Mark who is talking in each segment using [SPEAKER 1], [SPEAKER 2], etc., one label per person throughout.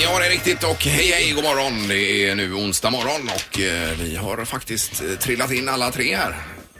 [SPEAKER 1] Morgongänget och hej hej god morgon. Det är nu onsdag morgon och eh, vi har faktiskt eh, trillat in alla tre här.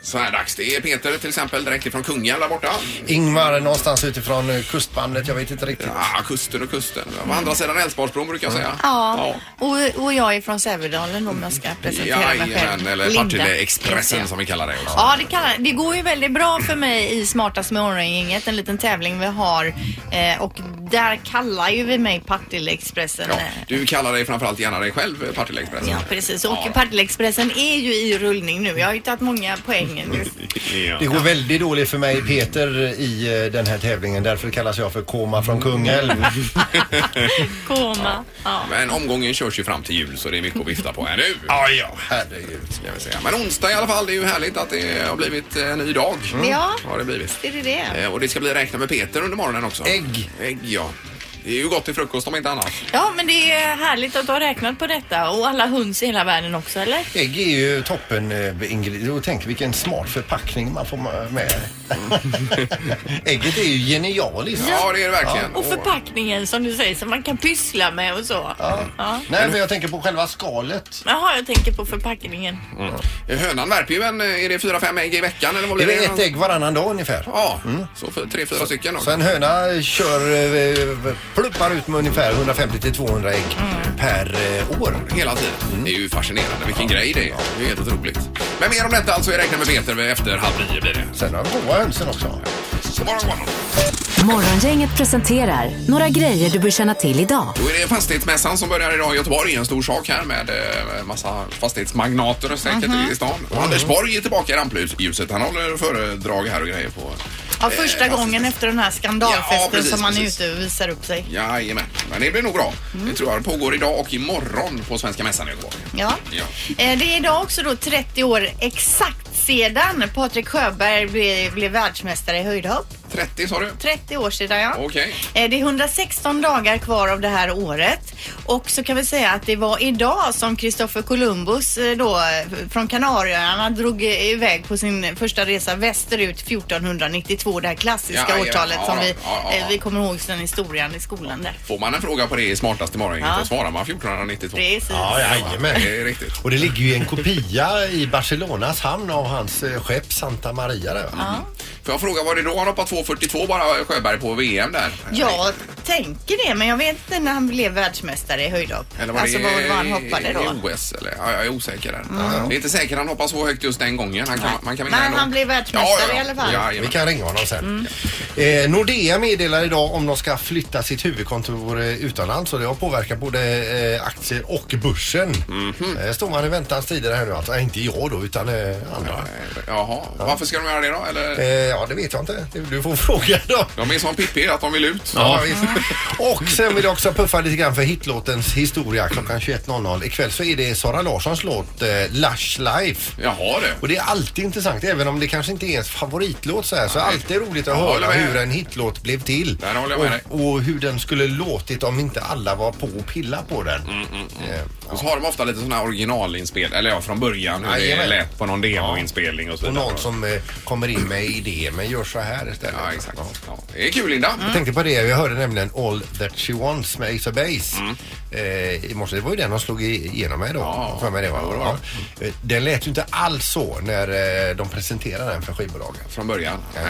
[SPEAKER 1] Så här dags. Det är Peter till exempel direkt ifrån Kungälv där borta.
[SPEAKER 2] Ingmar någonstans utifrån eh, kustbandet, jag vet inte riktigt.
[SPEAKER 1] Ja, kusten och kusten. På andra sidan Älvsborgsbron brukar jag säga.
[SPEAKER 3] Mm. Ja, och, och jag är från Sävedalen om jag ska presentera mig
[SPEAKER 1] Jajamän,
[SPEAKER 3] själv.
[SPEAKER 1] eller
[SPEAKER 3] Linda
[SPEAKER 1] Partille
[SPEAKER 3] heter
[SPEAKER 1] Expressen
[SPEAKER 3] jag.
[SPEAKER 1] som vi kallar det också.
[SPEAKER 3] Ja, det, kallar, det går ju väldigt bra för mig i Smartast med morgongänget, en liten tävling vi har. Eh, och där kallar ju vi mig Partille Expressen.
[SPEAKER 1] Ja, du kallar dig framförallt gärna dig själv eh, Partille Expressen.
[SPEAKER 3] Ja, precis. Och
[SPEAKER 1] Ja.
[SPEAKER 3] Partille Expressen är ju i rullning nu. Jag har ju tagit många poäng nu.
[SPEAKER 2] Det går väldigt dåligt för mig Peter i eh, den här tävlingen. Därför kallas jag för Koma från
[SPEAKER 1] Mm.
[SPEAKER 2] Kungälv.
[SPEAKER 3] Koma. Ja.
[SPEAKER 1] Men omgången körs ju fram till jul så det är mycket att vifta på här nu.
[SPEAKER 2] Ja, ja, herregud.
[SPEAKER 1] Ska vi säga. Men onsdag i alla fall, det är ju härligt att det har blivit eh, en ny dag.
[SPEAKER 3] Ja.
[SPEAKER 1] Har det blivit.
[SPEAKER 3] Är det det?
[SPEAKER 1] Eh, Och det ska bli räkna med Peter under morgonen också.
[SPEAKER 2] Ägg.
[SPEAKER 1] Ägg, ja. Det är ju gott till frukost om inte annat.
[SPEAKER 3] Ja, men det är härligt att du har räknat på detta och alla höns i hela världen också, eller?
[SPEAKER 2] Ägg är ju toppen eh, ingre- Och tänk vilken smart förpackning man får ma- med. Ägget är ju genialiskt.
[SPEAKER 1] Ja, det är det verkligen.
[SPEAKER 3] Och förpackningen som du säger som man kan pyssla med och så. Ja.
[SPEAKER 2] Nej, men jag tänker på själva skalet.
[SPEAKER 3] Jaha, jag tänker på förpackningen.
[SPEAKER 1] Och hönan värper ju en, eh, är det fyra, fem ägg i veckan eller vad
[SPEAKER 2] Det
[SPEAKER 1] blir
[SPEAKER 2] är
[SPEAKER 1] det?
[SPEAKER 2] väl ett ägg Mm. varannan dag ungefär.
[SPEAKER 1] Ja, så för, tre, fyra stycken då.
[SPEAKER 2] Så en höna kör, eh, pluppar ut med ungefär 150 till 200 ägg
[SPEAKER 1] Mm.
[SPEAKER 2] per eh, år.
[SPEAKER 1] Hela tiden.
[SPEAKER 2] Mm.
[SPEAKER 1] Det är ju fascinerande. Vilken grej det är. Det är helt otroligt. Men mer om detta alltså i Räkna med Peter efter halv nio blir det.
[SPEAKER 2] Sen har de goa hönsen också.
[SPEAKER 1] God morgon, god morgon.
[SPEAKER 4] Morgongänget presenterar några grejer du bör känna till idag.
[SPEAKER 1] Då är det fastighetsmässan som börjar idag i Göteborg. Det är En stor sak här med eh, massa fastighetsmagnater säkert
[SPEAKER 3] Mhm.
[SPEAKER 1] i stan.
[SPEAKER 2] Mm.
[SPEAKER 1] Och Anders Borg är tillbaka i rampljuset. Han håller föredrag här och grejer på...
[SPEAKER 3] Ja, första
[SPEAKER 1] eh,
[SPEAKER 3] gången efter den här skandalfesten
[SPEAKER 1] Ja, precis,
[SPEAKER 3] som man är
[SPEAKER 1] precis.
[SPEAKER 3] ute och visar upp sig.
[SPEAKER 1] Jajamän, men det blir nog bra.
[SPEAKER 3] Mm.
[SPEAKER 1] Det tror jag det pågår idag och imorgon på Svenska Mässan i Göteborg.
[SPEAKER 3] Ja.
[SPEAKER 1] Ja.
[SPEAKER 3] Eh, Det är idag också då 30 år exakt sedan Patrik Sjöberg blev, blev världsmästare i höjdhopp.
[SPEAKER 1] 30 sa du?
[SPEAKER 3] 30 år sedan ja.
[SPEAKER 1] Okej.
[SPEAKER 3] Eh, Det är 116 dagar kvar av det här året. Och så kan vi säga att det var idag som Kristoffer Columbus eh, då eh, från Kanarieöarna drog eh, iväg på sin första resa västerut 1492. Det här klassiska
[SPEAKER 1] Ja, ja,
[SPEAKER 3] årtalet
[SPEAKER 1] ja,
[SPEAKER 3] som vi,
[SPEAKER 1] ja, ja.
[SPEAKER 3] eh, vi kommer ihåg sedan historien i skolan där.
[SPEAKER 1] Får man en fråga på det i smartaste morgon
[SPEAKER 3] Ja.
[SPEAKER 1] då svarar man 1492.
[SPEAKER 3] Precis.
[SPEAKER 2] Ja, jajamän.
[SPEAKER 1] Det är riktigt.
[SPEAKER 2] Och det ligger ju en kopia i Barcelonas hamn av hans eh, skepp Santa Maria där. va? Mm.
[SPEAKER 1] Får jag fråga, var det då han hoppade 2.42 bara Sjöberg på VM där?
[SPEAKER 3] Jag tänker det, men jag vet inte när han blev världsmästare i höjdhopp.
[SPEAKER 1] Eller var
[SPEAKER 3] alltså
[SPEAKER 1] det
[SPEAKER 3] vad vad han
[SPEAKER 1] i-
[SPEAKER 3] hoppade då. Mm.
[SPEAKER 1] I OS eller? Ja, jag är osäker där. Det är inte säkert han hoppar så högt just den gången. Han kan, man kan vinna
[SPEAKER 3] Men
[SPEAKER 1] ändå.
[SPEAKER 3] han blir världsmästare
[SPEAKER 1] ja, ja, ja.
[SPEAKER 3] i alla fall.
[SPEAKER 1] Ja,
[SPEAKER 2] Vi
[SPEAKER 1] jajamän.
[SPEAKER 2] kan ringa honom sen. Eh, Nordea meddelar idag om de ska flytta sitt huvudkontor eh, utomlands och det har påverkat både eh, aktier och börsen. Eh, står man i väntans tider här nu alltså? Eh, inte jag då utan eh, andra.
[SPEAKER 1] Jaha, varför ska de göra det då? Eller?
[SPEAKER 2] Eh, ja, det vet jag inte. Du- Du får fråga dem.
[SPEAKER 1] De är som Pippi, att de vill ut.
[SPEAKER 2] Ja, visst. Och sen vill jag också puffa lite grann för hitlåtens historia klockan 21.00. Ikväll så är det Sara Larssons låt eh, Lush Life.
[SPEAKER 1] Jaha du.
[SPEAKER 2] Och det är alltid intressant, även om det kanske inte är ens favoritlåt så här, så är det alltid roligt att
[SPEAKER 1] Jag håller
[SPEAKER 2] höra
[SPEAKER 1] med.
[SPEAKER 2] hur en hitlåt blev till.
[SPEAKER 1] Där håller jag med dig.
[SPEAKER 2] och, och hur den skulle låtit om inte alla var på och pilla på den.
[SPEAKER 1] Mm,
[SPEAKER 2] Eh,
[SPEAKER 1] Och så har de ofta lite sådana här originalinspel, eller ja från början hur det
[SPEAKER 2] Jajamän.
[SPEAKER 1] lät på någon demoinspelning och så
[SPEAKER 2] Och
[SPEAKER 1] vidare.
[SPEAKER 2] någon som eh, kommer in med idéer, men gör så här istället.
[SPEAKER 1] Ja, exakt.
[SPEAKER 2] Ja.
[SPEAKER 1] Ja. Det är kul Linda.
[SPEAKER 2] Jag tänkte på det, jag hörde nämligen All That She Wants med Ace of Base eh, i morse. Det var ju den de slog i- igenom mig då.
[SPEAKER 1] Ja,
[SPEAKER 2] för mig det var.
[SPEAKER 1] det var det.
[SPEAKER 2] Ja. Eh, Den lät ju inte alls så när eh, de presenterade den för skivbolagen.
[SPEAKER 1] Från början. Ja.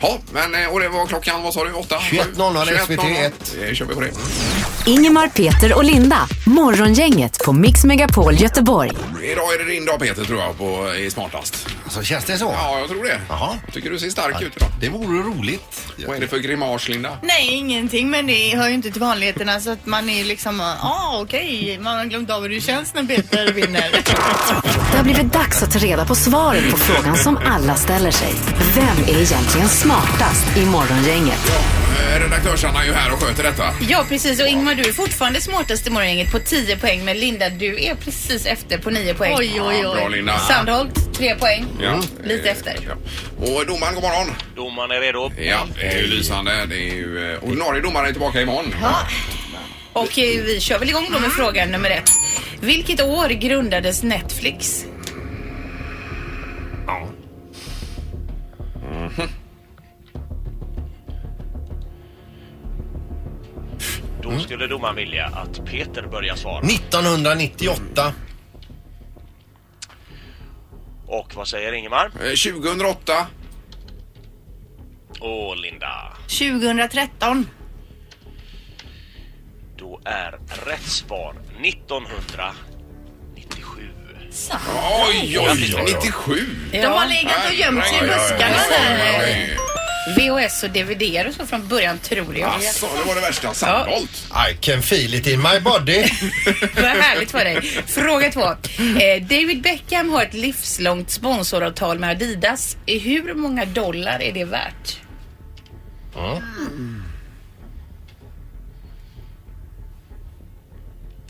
[SPEAKER 1] ja, men eh, och det var klockan, vad sa du? 8?
[SPEAKER 2] 21.00 SVT1.
[SPEAKER 1] Det kör vi på det.
[SPEAKER 4] Ingemar, Peter och Linda. Morgongänget på Mix Megapol Göteborg.
[SPEAKER 1] Idag är det din dag Peter tror jag på i Smartast.
[SPEAKER 2] Alltså känns det så?
[SPEAKER 1] Ja, jag tror det.
[SPEAKER 2] Jaha.
[SPEAKER 1] Tycker du ser stark ut idag.
[SPEAKER 2] Det vore roligt.
[SPEAKER 1] Vad är det för grimas Linda?
[SPEAKER 3] Nej, ingenting, men det hör ju inte till vanligheterna så att man är liksom, ja ah, okej, man har glömt av hur det känns när Peter vinner.
[SPEAKER 4] Det har blivit dags att ta reda på svaret på frågan som alla ställer sig. Vem är egentligen smartast i Morgongänget?
[SPEAKER 1] Eh, Redaktörs-Anna är ju här och sköter detta.
[SPEAKER 5] Ja, precis. Och Ingmar, du är fortfarande smartast i morgongänget på 10 poäng. Men Linda, du är precis efter på 9 poäng.
[SPEAKER 3] Oj, oj,
[SPEAKER 1] Bra
[SPEAKER 3] oj.
[SPEAKER 1] Linda.
[SPEAKER 5] Sandholt, 3 poäng.
[SPEAKER 2] Mm.
[SPEAKER 1] Ja.
[SPEAKER 5] Lite
[SPEAKER 1] Eh,
[SPEAKER 5] efter.
[SPEAKER 1] Ja. Och domaren, god morgon.
[SPEAKER 6] Domaren är redo.
[SPEAKER 1] Ja, det är ju lysande. Det är ju, eh, ordinarie domare är tillbaka imorgon.
[SPEAKER 5] Och eh, vi kör väl igång då
[SPEAKER 3] Mm.
[SPEAKER 5] med fråga nummer ett. Vilket år grundades Netflix?
[SPEAKER 6] Då Då skulle domaren vilja att Peter börjar svara.
[SPEAKER 2] 1998.
[SPEAKER 6] Och vad säger Ingemar?
[SPEAKER 1] Eh, 2008.
[SPEAKER 6] Och Linda.
[SPEAKER 3] 2013.
[SPEAKER 6] Då är rätt svar 1997.
[SPEAKER 1] Oj, oj,
[SPEAKER 6] Ja,
[SPEAKER 1] oj.
[SPEAKER 6] ja.
[SPEAKER 1] 97.
[SPEAKER 3] De har legat och gömt sig i
[SPEAKER 1] Aj, aj, aj.
[SPEAKER 3] buskarna där.
[SPEAKER 1] Oj.
[SPEAKER 5] VHS och DVD och så från början tror jag.
[SPEAKER 1] Asså, det var det värsta. Sandholt.
[SPEAKER 2] I can feel it in my body.
[SPEAKER 5] Vad härligt för dig. Fråga två. Eh, David Beckham har ett livslångt sponsoravtal med Adidas. Eh, Hur många dollar är det värt?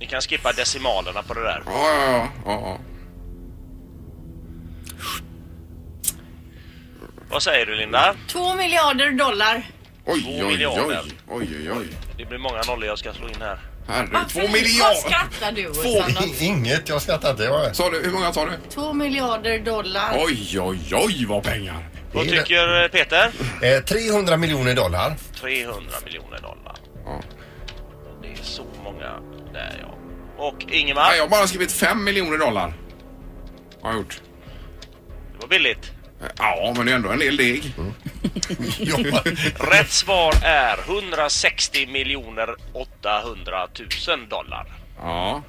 [SPEAKER 6] Ni kan skippa decimalerna på det där.
[SPEAKER 1] Ja, ja, ja, ja.
[SPEAKER 6] Vad säger du Linda?
[SPEAKER 3] Två miljarder dollar.
[SPEAKER 1] Oj,
[SPEAKER 6] Två
[SPEAKER 1] oj, oj.
[SPEAKER 6] miljarder.
[SPEAKER 1] Oj, oj, oj.
[SPEAKER 6] Det blir många nollor jag ska slå in här.
[SPEAKER 1] Herregud. Två
[SPEAKER 3] Ah, Vad
[SPEAKER 1] miljarder.
[SPEAKER 3] skrattar du åt,
[SPEAKER 1] Två-
[SPEAKER 3] Sandra?
[SPEAKER 2] Inget, jag skrattar inte. Jag är-
[SPEAKER 1] Sa du, hur många sa du?
[SPEAKER 3] Två miljarder dollar.
[SPEAKER 1] Oj, oj, oj vad pengar.
[SPEAKER 6] Vad
[SPEAKER 2] Det är det.
[SPEAKER 6] tycker eh, Peter?
[SPEAKER 2] Eh, 300 miljoner dollar.
[SPEAKER 6] 300 miljoner dollar.
[SPEAKER 1] Ja.
[SPEAKER 6] Det är så många där ja. Och Ingemar?
[SPEAKER 1] Nej, jag har bara skrivit fem miljoner dollar. Har jag gjort.
[SPEAKER 6] Det var billigt.
[SPEAKER 1] Ja, men det är ändå en del deg.
[SPEAKER 2] Ja.
[SPEAKER 6] Rätt svar är 160 miljoner 800 000 dollar.
[SPEAKER 1] Ja.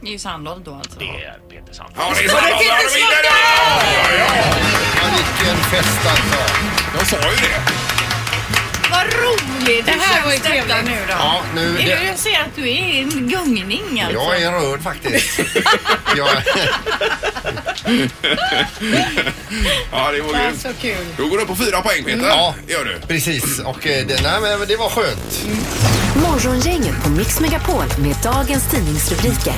[SPEAKER 3] Det är ju Sandholt då alltså.
[SPEAKER 6] Det är Peter Sandberg.
[SPEAKER 1] Ja, det är så bra. Ja, de vinner det! Ja, ja, ja.
[SPEAKER 2] Ja, Vilken fest alltså.
[SPEAKER 1] Jag sa ju det.
[SPEAKER 3] Vad roligt! Det här var ju trevligt nu då.
[SPEAKER 2] Ja, nu...
[SPEAKER 3] Är
[SPEAKER 2] det-
[SPEAKER 3] du, jag ser att du är i en gungning alltså.
[SPEAKER 2] Jag är rörd faktiskt. jag,
[SPEAKER 1] Ja, Mm. det var grymt.
[SPEAKER 5] Så kul.
[SPEAKER 1] Då går du upp på fyra poäng, Peter.
[SPEAKER 2] Ja.
[SPEAKER 1] Det gör du.
[SPEAKER 2] precis, och eh, det, nej, men det var skönt.
[SPEAKER 4] Morgongänget på Mix Megapol med dagens tidningsrubriker.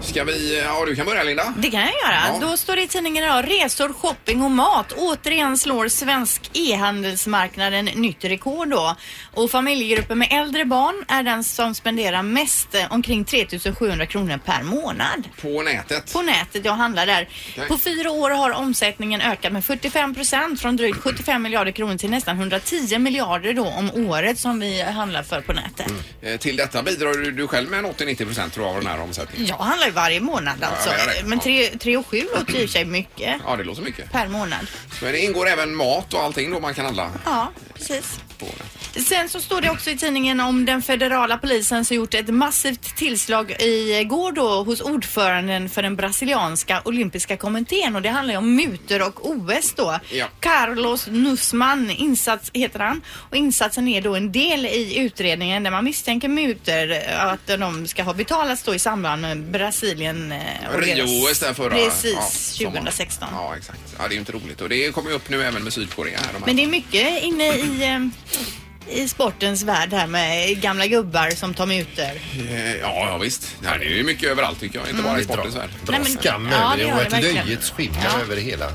[SPEAKER 1] Ska vi... Ja, du kan börja, Linda.
[SPEAKER 3] Det kan jag göra.
[SPEAKER 1] Ja.
[SPEAKER 3] Då står det i tidningen idag resor, shopping och mat. Återigen slår svensk e-handelsmarknaden nytt rekord då. Och familjegrupper med äldre barn är den som spenderar mest, eh, omkring 3700 kronor per månad.
[SPEAKER 1] På nätet.
[SPEAKER 3] På nätet, jag handlar där.
[SPEAKER 1] Okej.
[SPEAKER 3] På fyra år har omsättningen ökat med 45 procent från drygt 75 miljarder kronor till nästan 110 miljarder då om året som vi handlar för på nätet.
[SPEAKER 1] Eh, Till detta bidrar du, du själv med en 80-90 procent tror jag av den här omsättningen.
[SPEAKER 3] Jag handlar ju varje månad alltså.
[SPEAKER 1] jag vet.
[SPEAKER 3] Men
[SPEAKER 1] Ja.
[SPEAKER 3] 3 tre och 7 låter ju i och för sig mycket
[SPEAKER 1] Ja, det låter mycket.
[SPEAKER 3] per månad.
[SPEAKER 1] Men det ingår även mat och allting då man kan handla
[SPEAKER 3] Ja, precis.
[SPEAKER 1] på nätet.
[SPEAKER 3] Sen så står det också i tidningen om den federala polisen som gjort ett massivt tillslag igår då hos ordföranden för den brasilianska olympiska kommittén och det handlar ju om mutor och OS då.
[SPEAKER 1] Ja.
[SPEAKER 3] Carlos Nussman insats heter han och insatsen är då en del i utredningen där man misstänker mutor eh, att de ska ha betalats då i samband med Brasilien eh, och deras-
[SPEAKER 1] Rio-OS där förra...
[SPEAKER 3] Precis,
[SPEAKER 1] ja, sommaren.
[SPEAKER 3] 2016.
[SPEAKER 1] Ja, exakt. Ja, det är ju inte roligt. Och det kommer ju upp nu även med Sydkorea här. De här.
[SPEAKER 3] Men det är mycket inne i, eh, i sportens värld här med gamla gubbar som tar mutor.
[SPEAKER 1] Eh, Ja, ja visst. Nej, det är ju mycket överallt tycker
[SPEAKER 3] Mm.
[SPEAKER 1] jag. Inte bara i sportens värld.
[SPEAKER 2] Dra
[SPEAKER 3] Nej, men-
[SPEAKER 2] skam
[SPEAKER 3] ja,
[SPEAKER 2] över
[SPEAKER 3] det
[SPEAKER 2] det och
[SPEAKER 3] har det
[SPEAKER 2] ett
[SPEAKER 3] verkligen.
[SPEAKER 2] löjets skimmer över det hela.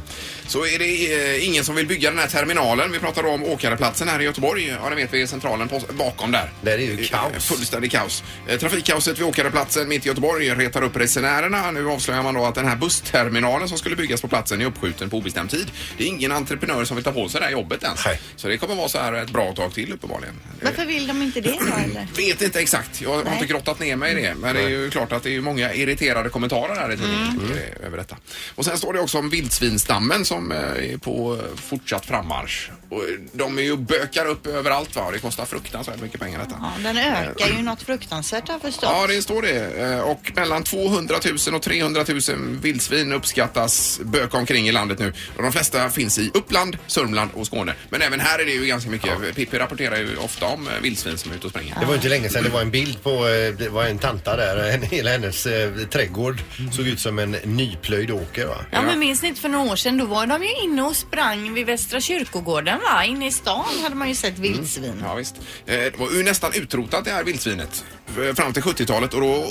[SPEAKER 1] Så är det eh, ingen som vill bygga den här terminalen. Vi pratar om åkareplatsen här i Göteborg. Ja, det vet vi. Centralen på, bakom där.
[SPEAKER 2] Där är ju
[SPEAKER 1] Eh,
[SPEAKER 2] kaos.
[SPEAKER 1] Fullständigt kaos. Eh, Trafikkaoset vid åkareplatsen mitt i Göteborg retar upp resenärerna. Nu avslöjar man då att den här bussterminalen som skulle byggas på platsen är uppskjuten på obestämd tid. Det är ingen entreprenör som vill ta på sig det här jobbet ens.
[SPEAKER 2] Nej.
[SPEAKER 1] Så det kommer vara så här ett bra tag till uppenbarligen.
[SPEAKER 3] Varför vill de inte det då eller?
[SPEAKER 1] Vet inte exakt. Jag har
[SPEAKER 3] Nej.
[SPEAKER 1] inte grottat ner mig i det. Men det är ju klart att det är ju många irriterade kommentarer här i tidningen
[SPEAKER 3] Mm.
[SPEAKER 1] eh, över detta. Och sen står det också om vildsvinstammen som eh, är på eh, fortsatt frammarsch. Och eh, de är ju bökar upp överallt va. Och Det kostar fruktansvärt mycket pengar detta.
[SPEAKER 3] Ja, den ökar ju något fruktansvärt har jag förstått.
[SPEAKER 1] Ja, det står det. Eh, Och mellan 200 000 och 300 000 vildsvin uppskattas böka omkring i landet nu. Och de flesta finns i Uppland, Sörmland och Skåne. Men även här är det ju ganska mycket. Pippi rapporterar ju ofta om eh, vildsvin som är ute och springer.
[SPEAKER 2] Det var ju inte länge sedan det var en bild på, eh, det var en tanta där, en, hela hennes eh, trädgård såg ut som en nyplöjd åker va?
[SPEAKER 3] Ja, men minns ni inte för några år sedan då var de ju inne och sprang vid Västra kyrkogården va? Inne i stan hade man ju
[SPEAKER 2] Mm.
[SPEAKER 3] sett vildsvin.
[SPEAKER 1] Ja, visst. Eh, Det var ju nästan utrotat det här vildsvinet eh, fram till 70-talet och då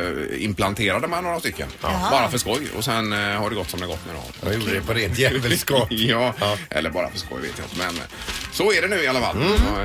[SPEAKER 1] återimplanterade man några stycken. Bara för skoj och sen eh, har det gått som det gått nu då.
[SPEAKER 2] De gjorde det på rent djävulskap. Mm.
[SPEAKER 1] Ja, eller bara för skoj vet jag inte men eh, så är det nu i alla fall.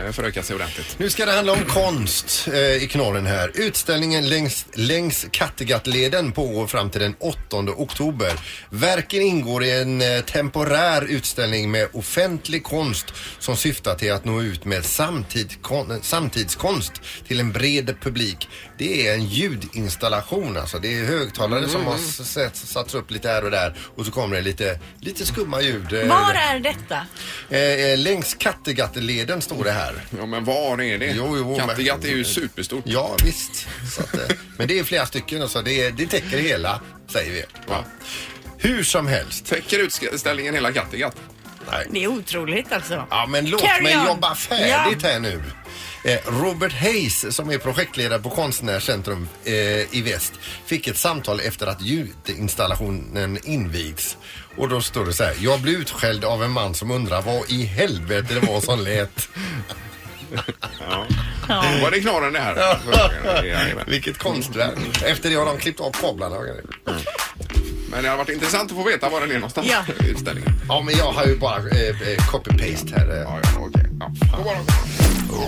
[SPEAKER 1] och föröka sig ordentligt.
[SPEAKER 2] Nu ska det handla om konst eh, i knorren här. Utställningen längs, längs Kattegattleden pågår fram till den 8 oktober. Verken ingår i en eh, temporär utställning med offentlig konst som syftar till att nå ut med samtid, kon, samtidskonst till en bred publik. Det är en ljudinstallation alltså. Det är högtalare som har s- s- satts upp lite här och där och så kommer det lite, lite skumma ljud. eh,
[SPEAKER 3] Var är detta?
[SPEAKER 2] eh, eh, längs Kattegattleden står det här.
[SPEAKER 1] Ja, men var är det?
[SPEAKER 2] Jo, jo, men-
[SPEAKER 1] Kattegatt är ju superstort.
[SPEAKER 2] Ja, visst. Så att, eh, men det är flera stycken, så det, det täcker hela, säger vi.
[SPEAKER 1] Ja.
[SPEAKER 2] Hur som helst.
[SPEAKER 1] Täcker utställningen hela Kattegatt?
[SPEAKER 2] Nej.
[SPEAKER 3] Det är otroligt alltså.
[SPEAKER 2] Ja, men låt
[SPEAKER 3] Carry
[SPEAKER 2] mig
[SPEAKER 3] on.
[SPEAKER 2] jobba färdigt här nu. Eh, Robert Hayes, som är projektledare på Konstnärscentrum eh, i väst, fick ett samtal efter att ljudinstallationen invigs. Och då står det så här. Jag blev utskälld av en man som undrar vad i helvete det var som lät.
[SPEAKER 1] Var det knorren det här? Jajamän.
[SPEAKER 2] Vilket konstverk. Efter det har de klippt av kablarna. och grejer.
[SPEAKER 1] Men det har varit intressant att få veta var den är någonstans.
[SPEAKER 3] Ja.
[SPEAKER 1] Utställningen.
[SPEAKER 2] Ja, men jag har ju bara eh, eh, copy-paste här. Eh.
[SPEAKER 1] Ja, ja, okej. Ja. God morgon.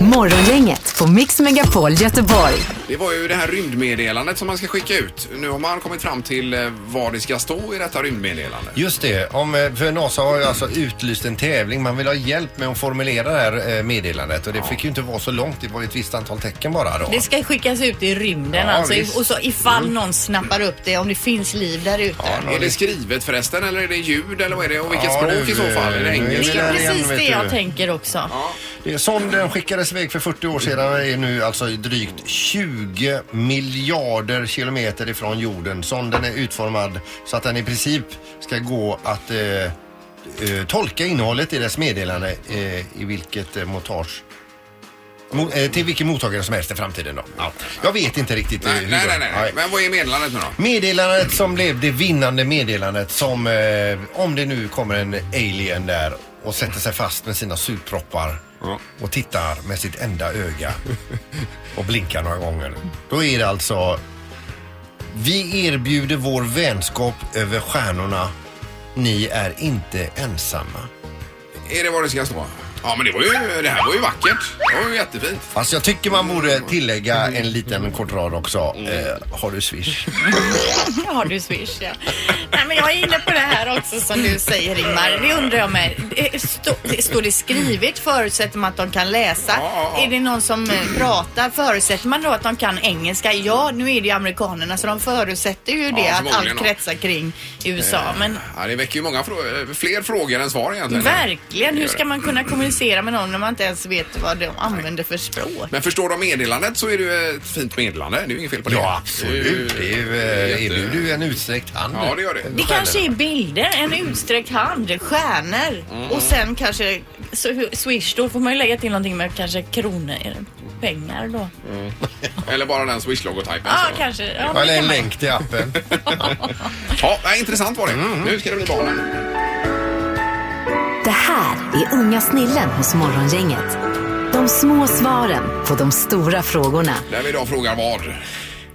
[SPEAKER 4] Morgongänget på Mix Megapol Göteborg.
[SPEAKER 1] Det var ju det här rymdmeddelandet som man ska skicka ut. Nu har man kommit fram till eh, vad det ska stå i detta rymdmeddelande.
[SPEAKER 2] Just det, om, eh, för NASA har ju alltså utlyst en tävling. Man vill ha hjälp med att formulera det här eh, meddelandet och det fick ju inte vara så långt. Det var ju ett visst antal tecken bara då.
[SPEAKER 3] Det ska skickas ut i rymden
[SPEAKER 2] Ja,
[SPEAKER 3] alltså.
[SPEAKER 2] visst. Mm.
[SPEAKER 3] Och så ifall någon snappar upp det, om det finns liv där ute.
[SPEAKER 1] Är det skrivet förresten eller är det ljud eller vad är det? Och vilket
[SPEAKER 2] Ja,
[SPEAKER 1] språk
[SPEAKER 2] du,
[SPEAKER 1] i så fall? Är det
[SPEAKER 2] eh,
[SPEAKER 1] engelska?
[SPEAKER 3] det
[SPEAKER 2] där
[SPEAKER 3] är
[SPEAKER 2] igen,
[SPEAKER 3] precis
[SPEAKER 2] vet
[SPEAKER 3] det jag
[SPEAKER 2] du.
[SPEAKER 3] tänker också.
[SPEAKER 2] Det- Sonden skickades iväg för 40 år sedan är nu alltså i drygt 20 miljarder kilometer ifrån jorden. Sonden är utformad så att den i princip ska gå att eh, eh, tolka innehållet i dess meddelande eh, i vilket eh, montage Mo- eh, till vilken mottagare som helst i framtiden då. Ja. Jag vet inte riktigt eh,
[SPEAKER 1] Nej,
[SPEAKER 2] hur
[SPEAKER 1] nej,
[SPEAKER 2] det-
[SPEAKER 1] nej, nej. Men vad är meddelandet nu då?
[SPEAKER 2] Meddelandet som blev det vinnande meddelandet som eh, om det nu kommer en alien där och sätter sig fast med sina sugproppar
[SPEAKER 1] Ja.
[SPEAKER 2] och tittar med sitt enda öga och blinkar några gånger. Då är det alltså Vi erbjuder vår vänskap över stjärnorna. Ni är inte ensamma.
[SPEAKER 1] Är det vad det ska stå? Ja, men det var ju, det här var ju vackert. Det var ju jättefint.
[SPEAKER 2] Alltså jag tycker man borde tillägga en liten kort rad också.
[SPEAKER 1] Mm.
[SPEAKER 2] Eh, har du swish?
[SPEAKER 3] Har du swish ja. Nej men jag är inne på det här också som du säger Ingmar. Det undrar jag med. Eh, stå- det- Står det skrivet förutsätter man att de kan läsa.
[SPEAKER 1] Ja, ja, ja.
[SPEAKER 3] Är det någon som eh, pratar förutsätter man då att de kan engelska? Ja, nu är det ju amerikanerna så de förutsätter ju det att
[SPEAKER 1] förmodligen
[SPEAKER 3] allt
[SPEAKER 1] då. Eh,
[SPEAKER 3] kretsar kring USA. Men
[SPEAKER 1] Ja, det väcker ju många frå- eh, fler frågor än svar egentligen.
[SPEAKER 3] verkligen,
[SPEAKER 1] Det
[SPEAKER 3] hur
[SPEAKER 1] gör
[SPEAKER 3] ska
[SPEAKER 1] det.
[SPEAKER 3] man kunna kommunicera med någon när man inte ens vet vad de använder för språk?
[SPEAKER 1] Men förstår de meddelandet så är det ju ett fint meddelande. Det är ju inget fel på det.
[SPEAKER 2] Ja absolut. Det är ju, eh,
[SPEAKER 1] jätte-
[SPEAKER 2] erbjuder ju en utsträckt hand.
[SPEAKER 1] Ja, det gör det.
[SPEAKER 2] Över
[SPEAKER 3] Det kanske
[SPEAKER 2] stjärnorna.
[SPEAKER 3] är bilder, en utsträckt hand, stjärnor och sen kanske så- swish. Då får man ju lägga till någonting med kanske kronor, pengar då. Ja,
[SPEAKER 1] Eller bara den swish-logotypen. så.
[SPEAKER 3] kanske. Ja, men
[SPEAKER 2] Eller
[SPEAKER 3] det
[SPEAKER 2] en
[SPEAKER 3] kan man.
[SPEAKER 2] länk till appen.
[SPEAKER 1] Ja, nej, intressant var det.
[SPEAKER 2] Mm.
[SPEAKER 1] Nu ska det bli barnen.
[SPEAKER 4] Det här är unga snillen hos Morgongänget. De små svaren på de stora frågorna.
[SPEAKER 1] Där vi idag frågar vad.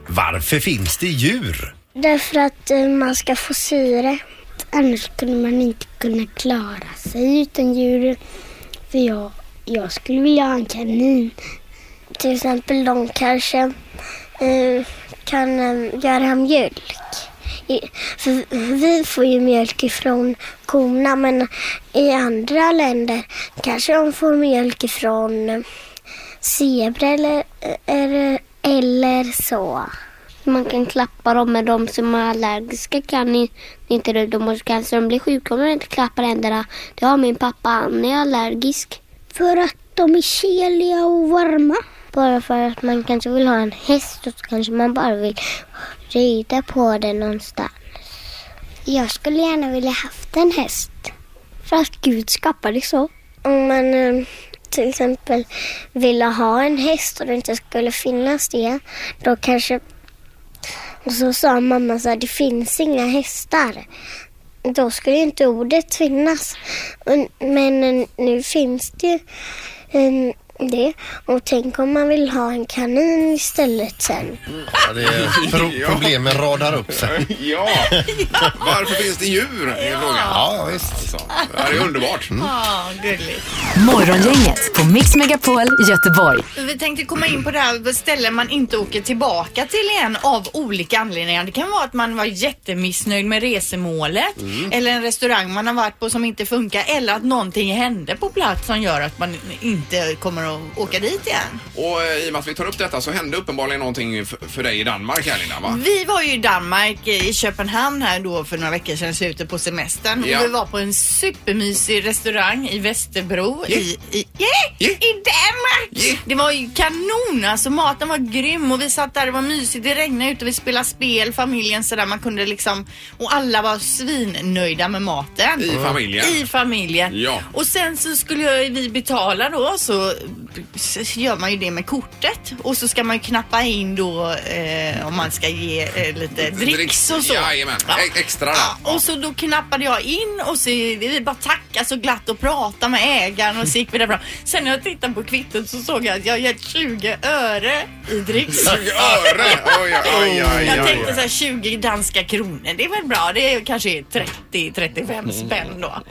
[SPEAKER 2] Varför finns det djur?
[SPEAKER 7] Därför att eh, man ska få syre. Annars skulle man inte kunna klara sig utan djur. För jag, jag skulle vilja ha en kanin. Till exempel de kanske eh, kan eh, göra mjölk. I- För vi får ju mjölk ifrån korna men i andra länder kanske de får mjölk ifrån eh, zebra eller, eh, eller, eller så. Man kan klappa dem, men de som är allergiska kan i- inte det. De måste kanske de blir sjuka om de inte klappar händerna. Det har min pappa, han är allergisk. För att de är keliga och varma. Bara för att man kanske vill ha en häst och så kanske man bara vill rida på den någonstans. Jag skulle gärna vilja haft en häst. För att Gud skapade så. Om man eh, till exempel ville ha en häst och det inte skulle finnas det, då kanske... Och så sa mamma så här, det finns inga hästar. Då skulle ju inte ordet finnas. Men- Men eh, nu finns det ju, eh, det. Och tänk om man vill ha en kanin istället sen.
[SPEAKER 2] Ja, det är pro- problemen radar upp sig.
[SPEAKER 1] Ja, varför finns det djur? Är frågan.
[SPEAKER 2] Ja, ja, visst.
[SPEAKER 1] Alltså, det här är underbart.
[SPEAKER 3] Mm. Ja, gulligt.
[SPEAKER 4] Morgongänget på Mix Megapol Göteborg.
[SPEAKER 3] Vi tänkte komma in på det här på ställen man inte åker tillbaka till igen av olika anledningar. Det kan vara att man var jättemissnöjd med resemålet eller en restaurang man har varit på som inte funkar eller att någonting hände på plats som gör att man inte kommer att åka dit igen.
[SPEAKER 1] Och eh, i och med att vi tar upp detta så hände uppenbarligen någonting f- för dig i Danmark här Linda va?
[SPEAKER 3] Vi var ju i Danmark, eh, i Köpenhamn här då för några veckor sedan, slutet på semestern.
[SPEAKER 1] Ja.
[SPEAKER 3] Och vi var på en supermysig restaurang i Västerbro
[SPEAKER 1] Yeah.
[SPEAKER 3] i, i,
[SPEAKER 1] Yeah.
[SPEAKER 3] yeah, i Danmark.
[SPEAKER 1] Yeah.
[SPEAKER 3] Det var ju kanon alltså, maten var grym och vi satt där, det var mysigt, det regnade ute, vi spelade spel, familjen sådär, man kunde liksom och alla var svinnöjda med maten.
[SPEAKER 1] I familjen.
[SPEAKER 3] I familjen.
[SPEAKER 1] Ja.
[SPEAKER 3] Och sen så skulle jag, vi betala då så, så gör man ju det med kortet och så ska man ju knappa in då eh, om man ska ge eh, lite dricks och så.
[SPEAKER 1] Jajamän, E- extra där.
[SPEAKER 3] Ja, Ah, och så då knappade jag in och så vi bara tackade så glatt och pratade med ägaren och så gick vi därifrån. Sen när jag tittade på kvittot så såg jag att jag gett 20 öre i dricks.
[SPEAKER 1] Öre! Oj, oj, oj, oj,
[SPEAKER 3] Jag tänkte
[SPEAKER 1] oj.
[SPEAKER 3] så här 20 danska kronor, det är väl bra. Det är kanske
[SPEAKER 1] Mm,
[SPEAKER 3] 30-35 spänn då.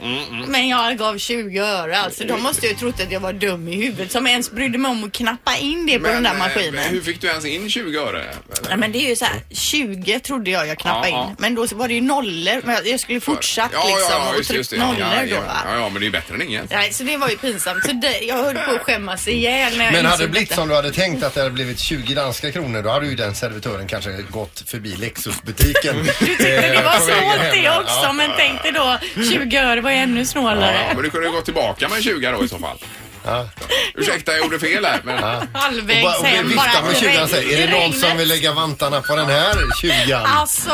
[SPEAKER 3] Men jag gav 20 öre alltså. De måste ju ha trott att jag var dum i huvudet som ens brydde mig om att knappa in det på den där
[SPEAKER 1] eh,
[SPEAKER 3] maskinen.
[SPEAKER 1] hur fick du ens in 20 öre? Eller?
[SPEAKER 3] Nej, men det är ju så här, 20 trodde jag jag knappade
[SPEAKER 1] Ja, ja.
[SPEAKER 3] in. Men då så var det ju nollor. Men jag- jag skulle fortsatt liksom och
[SPEAKER 1] just, just
[SPEAKER 3] tryckt
[SPEAKER 1] det.
[SPEAKER 3] nollor
[SPEAKER 1] ja,
[SPEAKER 3] då
[SPEAKER 1] ja,
[SPEAKER 3] va.
[SPEAKER 1] ja, ja, men det är ju bättre än inget.
[SPEAKER 3] Nej, så det var ju pinsamt. Så det, jag höll på att skämmas ihjäl när jag
[SPEAKER 2] Men hade det
[SPEAKER 3] insåg
[SPEAKER 2] blivit
[SPEAKER 3] detta.
[SPEAKER 2] som du hade tänkt att det hade blivit 20 danska kronor då hade ju den servitören kanske gått förbi Lexusbutiken. Eh,
[SPEAKER 3] Du tyckte det var snålt det också,
[SPEAKER 2] Ja.
[SPEAKER 3] men tänkte då 20 öre var ju ännu snålare.
[SPEAKER 1] Ja, men du kunde ju gå tillbaka med 20 då i så fall.
[SPEAKER 2] Ja.
[SPEAKER 1] Ursäkta, jag gjorde fel här. Men...
[SPEAKER 2] Och bara-
[SPEAKER 3] Halvvägs
[SPEAKER 2] och vi
[SPEAKER 3] hem bara.
[SPEAKER 2] viftar med tjugan och säger, är det någon
[SPEAKER 3] regnet.
[SPEAKER 2] som vill lägga vantarna på den här tjugan?
[SPEAKER 3] Alltså!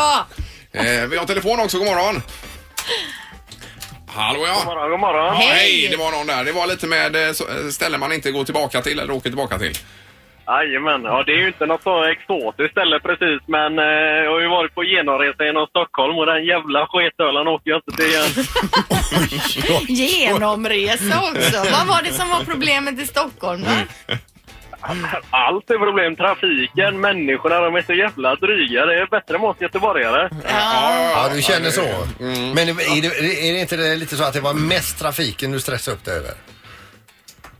[SPEAKER 1] Eh, vi har telefon också, god morgon. Hallå ja.
[SPEAKER 6] morgon, god morgon.
[SPEAKER 1] Hej.
[SPEAKER 3] Hej.
[SPEAKER 1] det var någon där. Det var lite med eh, så- eh, ställen man inte går tillbaka till eller åker tillbaka till.
[SPEAKER 6] Jajamän, ja, det är ju inte något så exotiskt ställe precis, men eh, jag har ju varit på genomresa genom Stockholm och den jävla skethölan åker jag inte till igen.
[SPEAKER 3] Genomresa också. Vad var det som var problemet i Stockholm då?
[SPEAKER 1] Mm.
[SPEAKER 6] Allt är problem. Trafiken, människorna, de är så jävla dryga. Det är bättre mot göteborgare.
[SPEAKER 2] Ja, du känner så. Men är det, är det inte det lite så att det var mest trafiken du stressade upp dig över?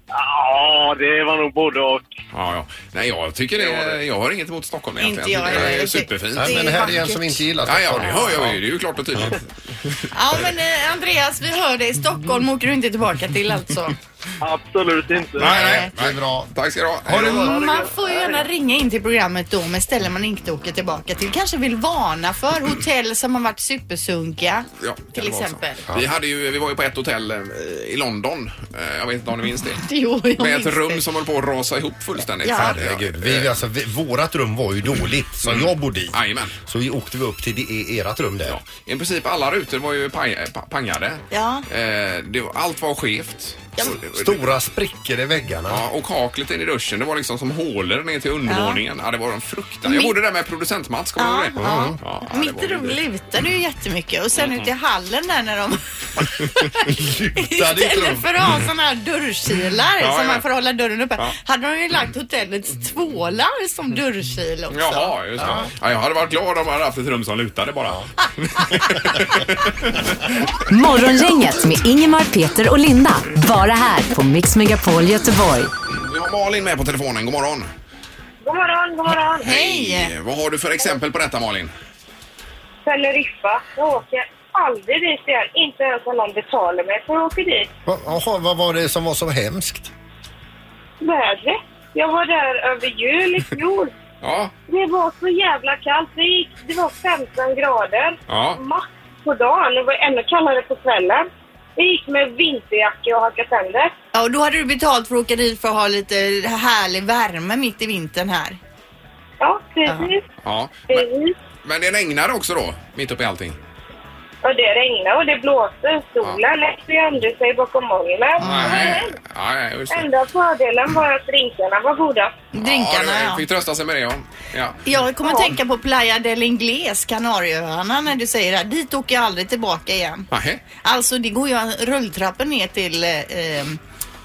[SPEAKER 6] Ja, det var nog både och.
[SPEAKER 1] Ja, ja. Nej, jag tycker det. Jag har inget emot Stockholm
[SPEAKER 3] Inte
[SPEAKER 1] egentligen.
[SPEAKER 3] jag
[SPEAKER 1] det är
[SPEAKER 3] heller.
[SPEAKER 1] superfint.
[SPEAKER 2] Nej,
[SPEAKER 3] Det
[SPEAKER 2] men
[SPEAKER 3] är
[SPEAKER 2] här är en
[SPEAKER 3] vackert.
[SPEAKER 2] som inte gillar
[SPEAKER 1] Ja, ja,
[SPEAKER 2] Stockholm.
[SPEAKER 1] det hör jag ju. Det är ju klart och tydligt.
[SPEAKER 3] Ja men eh, Andreas, vi hör dig. Stockholm åker du inte tillbaka till alltså.
[SPEAKER 6] Absolut inte.
[SPEAKER 1] Nej, nej.
[SPEAKER 2] Det är bra.
[SPEAKER 1] Tack ska du ha.
[SPEAKER 2] Ha det
[SPEAKER 1] Hej då.
[SPEAKER 2] gott.
[SPEAKER 3] Man får ju gärna ringa in till programmet då med ställen man inte åker tillbaka till. Kanske vill varna för hotell som har varit supersunkiga.
[SPEAKER 1] Ja, kan
[SPEAKER 3] till
[SPEAKER 1] det vara så.
[SPEAKER 3] exempel.
[SPEAKER 1] Vi, hade ju, vi var ju på ett hotell eh, i London. Eh, Jag vet inte om ni minns det?
[SPEAKER 3] Jo, jag
[SPEAKER 1] Med
[SPEAKER 3] minns
[SPEAKER 1] ett rum
[SPEAKER 3] det.
[SPEAKER 1] som höll på att rasa ihop fullständigt.
[SPEAKER 3] Ja.
[SPEAKER 2] Herregud,
[SPEAKER 1] eh.
[SPEAKER 2] vi, alltså, vi, vårat rum var ju dåligt som jag bodde i.
[SPEAKER 1] Jajamän.
[SPEAKER 2] Så vi åkte vi upp till det, ert rum där.
[SPEAKER 1] Mm. Ja, I princip alla rutor var ju paj, eh, pa- pangade.
[SPEAKER 3] Ja.
[SPEAKER 1] Eh, det, var- allt var skevt. Så-
[SPEAKER 2] Stora sprickor i väggarna.
[SPEAKER 1] Ja, och kaklet in i duschen, det var liksom som hålor ner till undervåningen. Ja. det var en fruktan. Jag
[SPEAKER 3] Mitt-
[SPEAKER 1] bodde där med producent Mats, kommer du
[SPEAKER 3] Ja,
[SPEAKER 1] ihåg det?
[SPEAKER 3] ja.
[SPEAKER 1] Ja, det
[SPEAKER 3] Mitt
[SPEAKER 1] var ju
[SPEAKER 3] rum
[SPEAKER 1] det. Mm.
[SPEAKER 3] lutade ju jättemycket och sen ute i hallen där när de
[SPEAKER 2] Lutade ditt
[SPEAKER 3] istället
[SPEAKER 2] rum.
[SPEAKER 3] för att ha sådana här dörrkilar
[SPEAKER 1] Ja,
[SPEAKER 3] som
[SPEAKER 1] ja.
[SPEAKER 3] man får hålla dörren uppe
[SPEAKER 1] Ja.
[SPEAKER 3] hade de ju lagt hotellets tvålar som dörrkil också.
[SPEAKER 1] Jaha, just det. Ja. jag hade varit glad om jag hade haft ett rum som lutade bara.
[SPEAKER 4] Morgongänget med Ingemar, Peter och Linda. Bara här på Mix Megapol Göteborg.
[SPEAKER 1] Vi har Malin med på telefonen, god morgon.
[SPEAKER 8] God morgon, god morgon.
[SPEAKER 1] Eh, Vad har du för exempel på detta Malin?
[SPEAKER 8] Teneriffa. Jag åker aldrig dit igen. Inte ens om någon betalar mig för jag åker dit.
[SPEAKER 2] Va- Jaha, vad var det som var så hemskt?
[SPEAKER 8] Vädret. Jag var där över jul i fjol.
[SPEAKER 1] Ja,
[SPEAKER 8] Det var så jävla kallt. Det, gick, det var 15 grader
[SPEAKER 1] ja.
[SPEAKER 8] max på dagen. Det var ännu kallare på kvällen. Det gick med vinterjacka och hackat tänder.
[SPEAKER 3] Ja, och då hade du betalt för att åka dit för att ha lite härlig värme mitt i vintern här.
[SPEAKER 8] Ja, precis.
[SPEAKER 1] ja. Men,
[SPEAKER 8] Precis.
[SPEAKER 1] men det regnar också då, mitt uppe i allting?
[SPEAKER 8] Och det regnade och det blåste. Solen läckte ju under sig bakom molnen.
[SPEAKER 1] Nej, nej, just det.
[SPEAKER 8] Enda fördelen var att drinkarna var goda.
[SPEAKER 3] Drinkarna
[SPEAKER 1] ja.
[SPEAKER 3] ja.
[SPEAKER 1] du Fick trösta sig med det ja. ja.
[SPEAKER 3] Jag kommer att tänka på Playa del Ingles, Kanarieöarna, när du säger det. här. Dit åker jag aldrig tillbaka igen.
[SPEAKER 1] Nej.
[SPEAKER 3] Alltså det går ju en rulltrappor ner till eh, eh,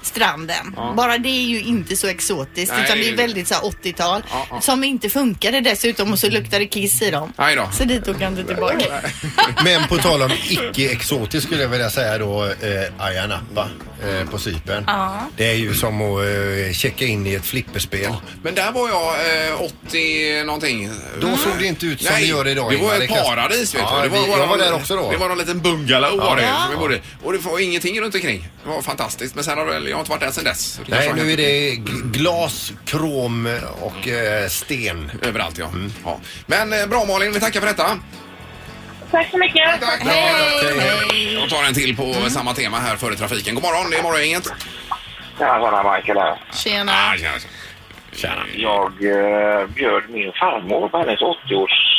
[SPEAKER 3] stranden. Bara det är ju inte så exotiskt
[SPEAKER 1] Nej,
[SPEAKER 3] utan
[SPEAKER 1] det
[SPEAKER 3] det
[SPEAKER 1] är
[SPEAKER 3] är
[SPEAKER 1] det.
[SPEAKER 3] väldigt så här 80-tal.
[SPEAKER 1] Ja, ja.
[SPEAKER 3] Som inte funkade dessutom och så luktar det kiss i dem.
[SPEAKER 1] Aj då.
[SPEAKER 3] Så dit åker han inte tillbaka.
[SPEAKER 2] Men på tal om icke-exotiskt skulle jag vilja säga då eh, Ayia Napa eh, på Cypern. Det är ju som att eh, checka in i ett flipperspel.
[SPEAKER 1] Men där var jag eh, 80 någonting. Mm.
[SPEAKER 2] Då såg det inte ut som
[SPEAKER 1] Nej,
[SPEAKER 2] det gör idag.
[SPEAKER 1] Det var
[SPEAKER 2] Ingvar.
[SPEAKER 1] ett
[SPEAKER 2] kan jag-
[SPEAKER 1] paradis vet
[SPEAKER 2] ja,
[SPEAKER 1] du. Det
[SPEAKER 2] vi-
[SPEAKER 1] bara
[SPEAKER 2] jag var
[SPEAKER 1] någon-
[SPEAKER 2] där också då.
[SPEAKER 1] Det var någon liten bungalow var det.
[SPEAKER 3] Ja.
[SPEAKER 1] Som vi bodde. Och det var ingenting runt omkring. Det var fantastiskt. Men sen har det- jag har inte varit där sen dess. Så det kanske
[SPEAKER 2] Nej,
[SPEAKER 1] har
[SPEAKER 2] nu är
[SPEAKER 1] hänt
[SPEAKER 2] det gl- glas, krom och eh, sten.
[SPEAKER 1] Överallt ja.
[SPEAKER 2] Mm.
[SPEAKER 1] ja. Men eh, bra Malin, vi tackar för detta.
[SPEAKER 8] Tack så mycket.
[SPEAKER 1] Tack! Hej! Hej. Jag tar en till på samma tema här före trafiken. God morgon, det är morgongänget. Ah,
[SPEAKER 9] Tjena, Michael här.
[SPEAKER 3] Tjena.
[SPEAKER 1] tjena. Tjena.
[SPEAKER 9] Jag eh, bjöd min farmor på hennes